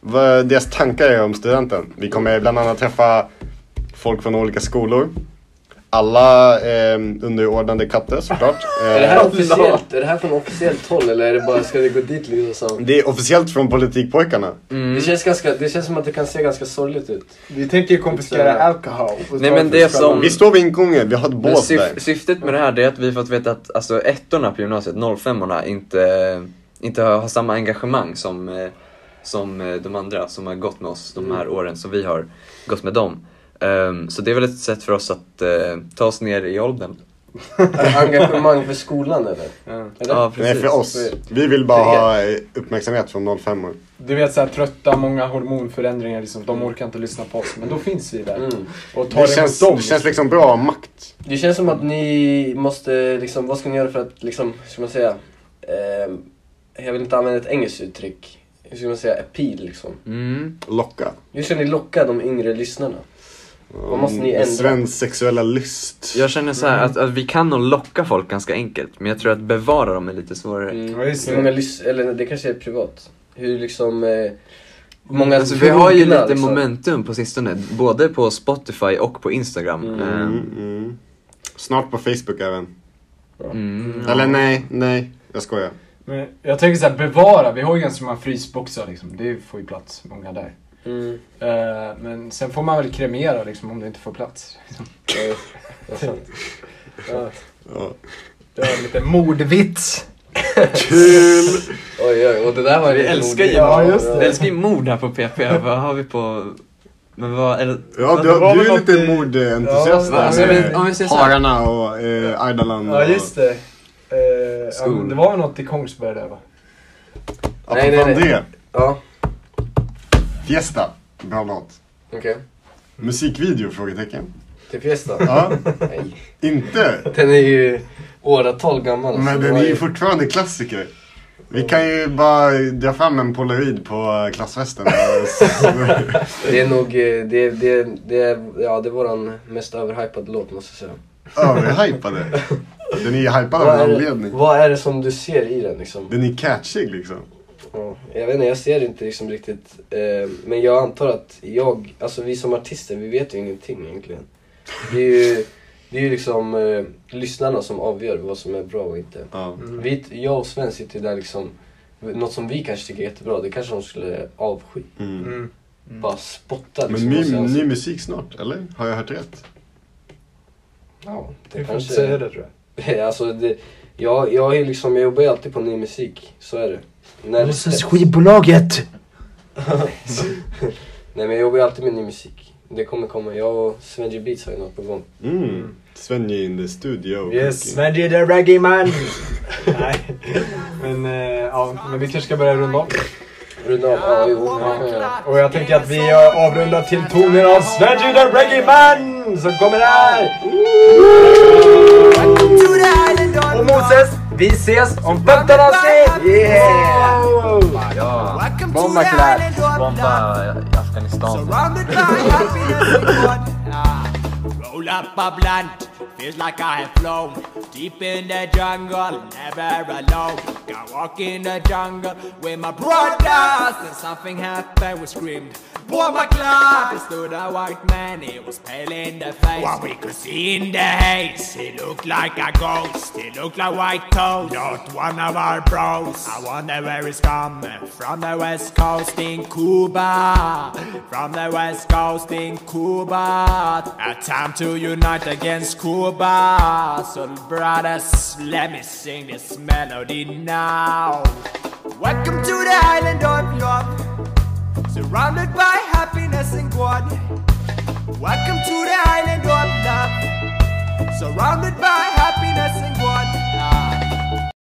vad deras tankar är om studenten. Vi kommer bland annat träffa folk från olika skolor. Alla eh, underordnade katter såklart. Är det Eh, här officiellt? Är det här från officiellt håll eller är det bara, ska det gå dit liksom? så? Det är officiellt från politikpojkarna. Mm. Det, känns ganska, det känns som att det kan se ganska sorgligt ut. Vi tänker konfiskera alkohol. Nej, men det som- Vi står vid ingången, vi har ett Men bås där. syf- syftet med det här det är att vi fått veta att alltså, ettorna på gymnasiet, 05orna, inte, inte har, har samma engagemang som, eh, som eh, de andra som har gått med oss de här åren som vi har gått med dem. Ehm, så det är väl ett sätt för oss att eh, ta oss ner i åldern. Engagemang för skolan eller? eller? Ja, precis. Nej, för oss. Vi vill bara ha eh, uppmärksamhet från 05-or. Du vet såhär trötta, många hormonförändringar liksom. De orkar inte lyssna på oss. Men då finns vi där. Mm. Och tar Mm. Det känns, emot dem. det känns liksom bra makt. Det känns som att ni måste, liksom, vad ska ni göra för att, liksom, hur ska man säga? Eh, jag vill inte använda ett engelskt uttryck. Hur ska man säga? Appeal liksom. Mm. Locka. Hur ska ni locka de yngre lyssnarna? Vad måste ni Mm, ändra? Svensk sexuella lust. Jag känner så här att, att vi kan nog locka folk ganska enkelt, men jag tror att bevara dem är lite svårare. Hur många lys- eller det kanske är privat. Hur liksom, eh, hur många alltså, vi har ju trogna, lite liksom? momentum på sistone, både på Spotify och på Instagram. Ehm, Mm, mm. Snart på Facebook även. Mm. Eller nej, nej. Jag skojar. Men jag tänker såhär, bevara. Vi har ju ganska många frysboxar liksom. Det får ju plats många där. Mm. Eh, men sen får man väl kremera liksom om det inte får plats. Ja. Ja. Det var lite mordvits. Kul! Oj, oj, och det där var Vi lite älskar ju roligt. ja, Vi älskar ju mord här på PP. Vad har vi på... Men vad... Eller, Ja, vad- du, vad du var är något lite i- mordentusiast Ja, alltså, men om vi där. säger så här- Hararna och eh, Ardalan. Ja, just det. Eh, ja, Skol. men det var ju något i Kongsberg där va? Och, Nej, nej, nej, nej. det. Ja. Fiesta. Bra låt. Okej. Musikvideo? Frågetecken. Till Fiesta? Ja. Nej. Inte? Den är ju åratal gammal. alltså. Men Det den var är ju- ju fortfarande klassiker. Vi kan ju bara dra fram en polaroid på eh, klassfesten. Det är nog, eh, det, det, det, är- ja, det är våran mest överhypade låt måste jag säga. Överhypade. Den är ju hypad av Vad en är, anledning. det, vad är det som du ser i den liksom? Den är catchig liksom. Ja, jag vet inte, jag ser inte liksom riktigt. Eh, men jag antar att jag, alltså vi som artister, vi vet ju ingenting egentligen. Det är ju, det är ju liksom eh, lyssnarna som avgör vad som är bra och inte. Mm. Vi, jag och Sven sitter ju där liksom, något som vi kanske tycker är jättebra, det kanske de skulle avsky. Mm. Bara spotta liksom. Men ny, oss i ny ansiktet. musik snart, eller? Har jag hört rätt? Ja, Vi får inte säga det tror jag. alltså det, jag, jag, är liksom, jag jobbar ju alltid på ny musik, så är det. När det Alltså, släpps. skivbolaget! Nej men jag jobbar ju alltid med ny musik. Det kommer komma. Jag och Svenji Beats har ju något på gång. Mm. Svenji in the studio. Yes, Cooking. Svenji the Reggae Man! Nej, men, eh, ja, men vi kanske ska börja runda av. Runda av? Ja, jo. Ja. Och jag tänker att vi eh, avrundar till toner av Svenji the Reggae Man som kommer här! Och Moses, vi ses om 15 avsnitt! Yeah! Ja. Bomba clap! Bomba eh, Afghanistan. Roll up a blunt, feels like I have flown. Deep in the jungle, never alone. I walk in the jungle with my brothers. Then something happened, we screamed. Boy, my club! He stood a white man, he was pale in the face. What we could see in the haze, he looked like a ghost. He looked like white toad, not one of our bros. I wonder where he's coming from the west coast in Cuba. From the west coast in Cuba. A time to unite against Cuba. So, brothers, let me sing this melody now. Welcome to the island of love. Surrounded by happiness and God. Welcome to the island of love. Surrounded by happiness and God.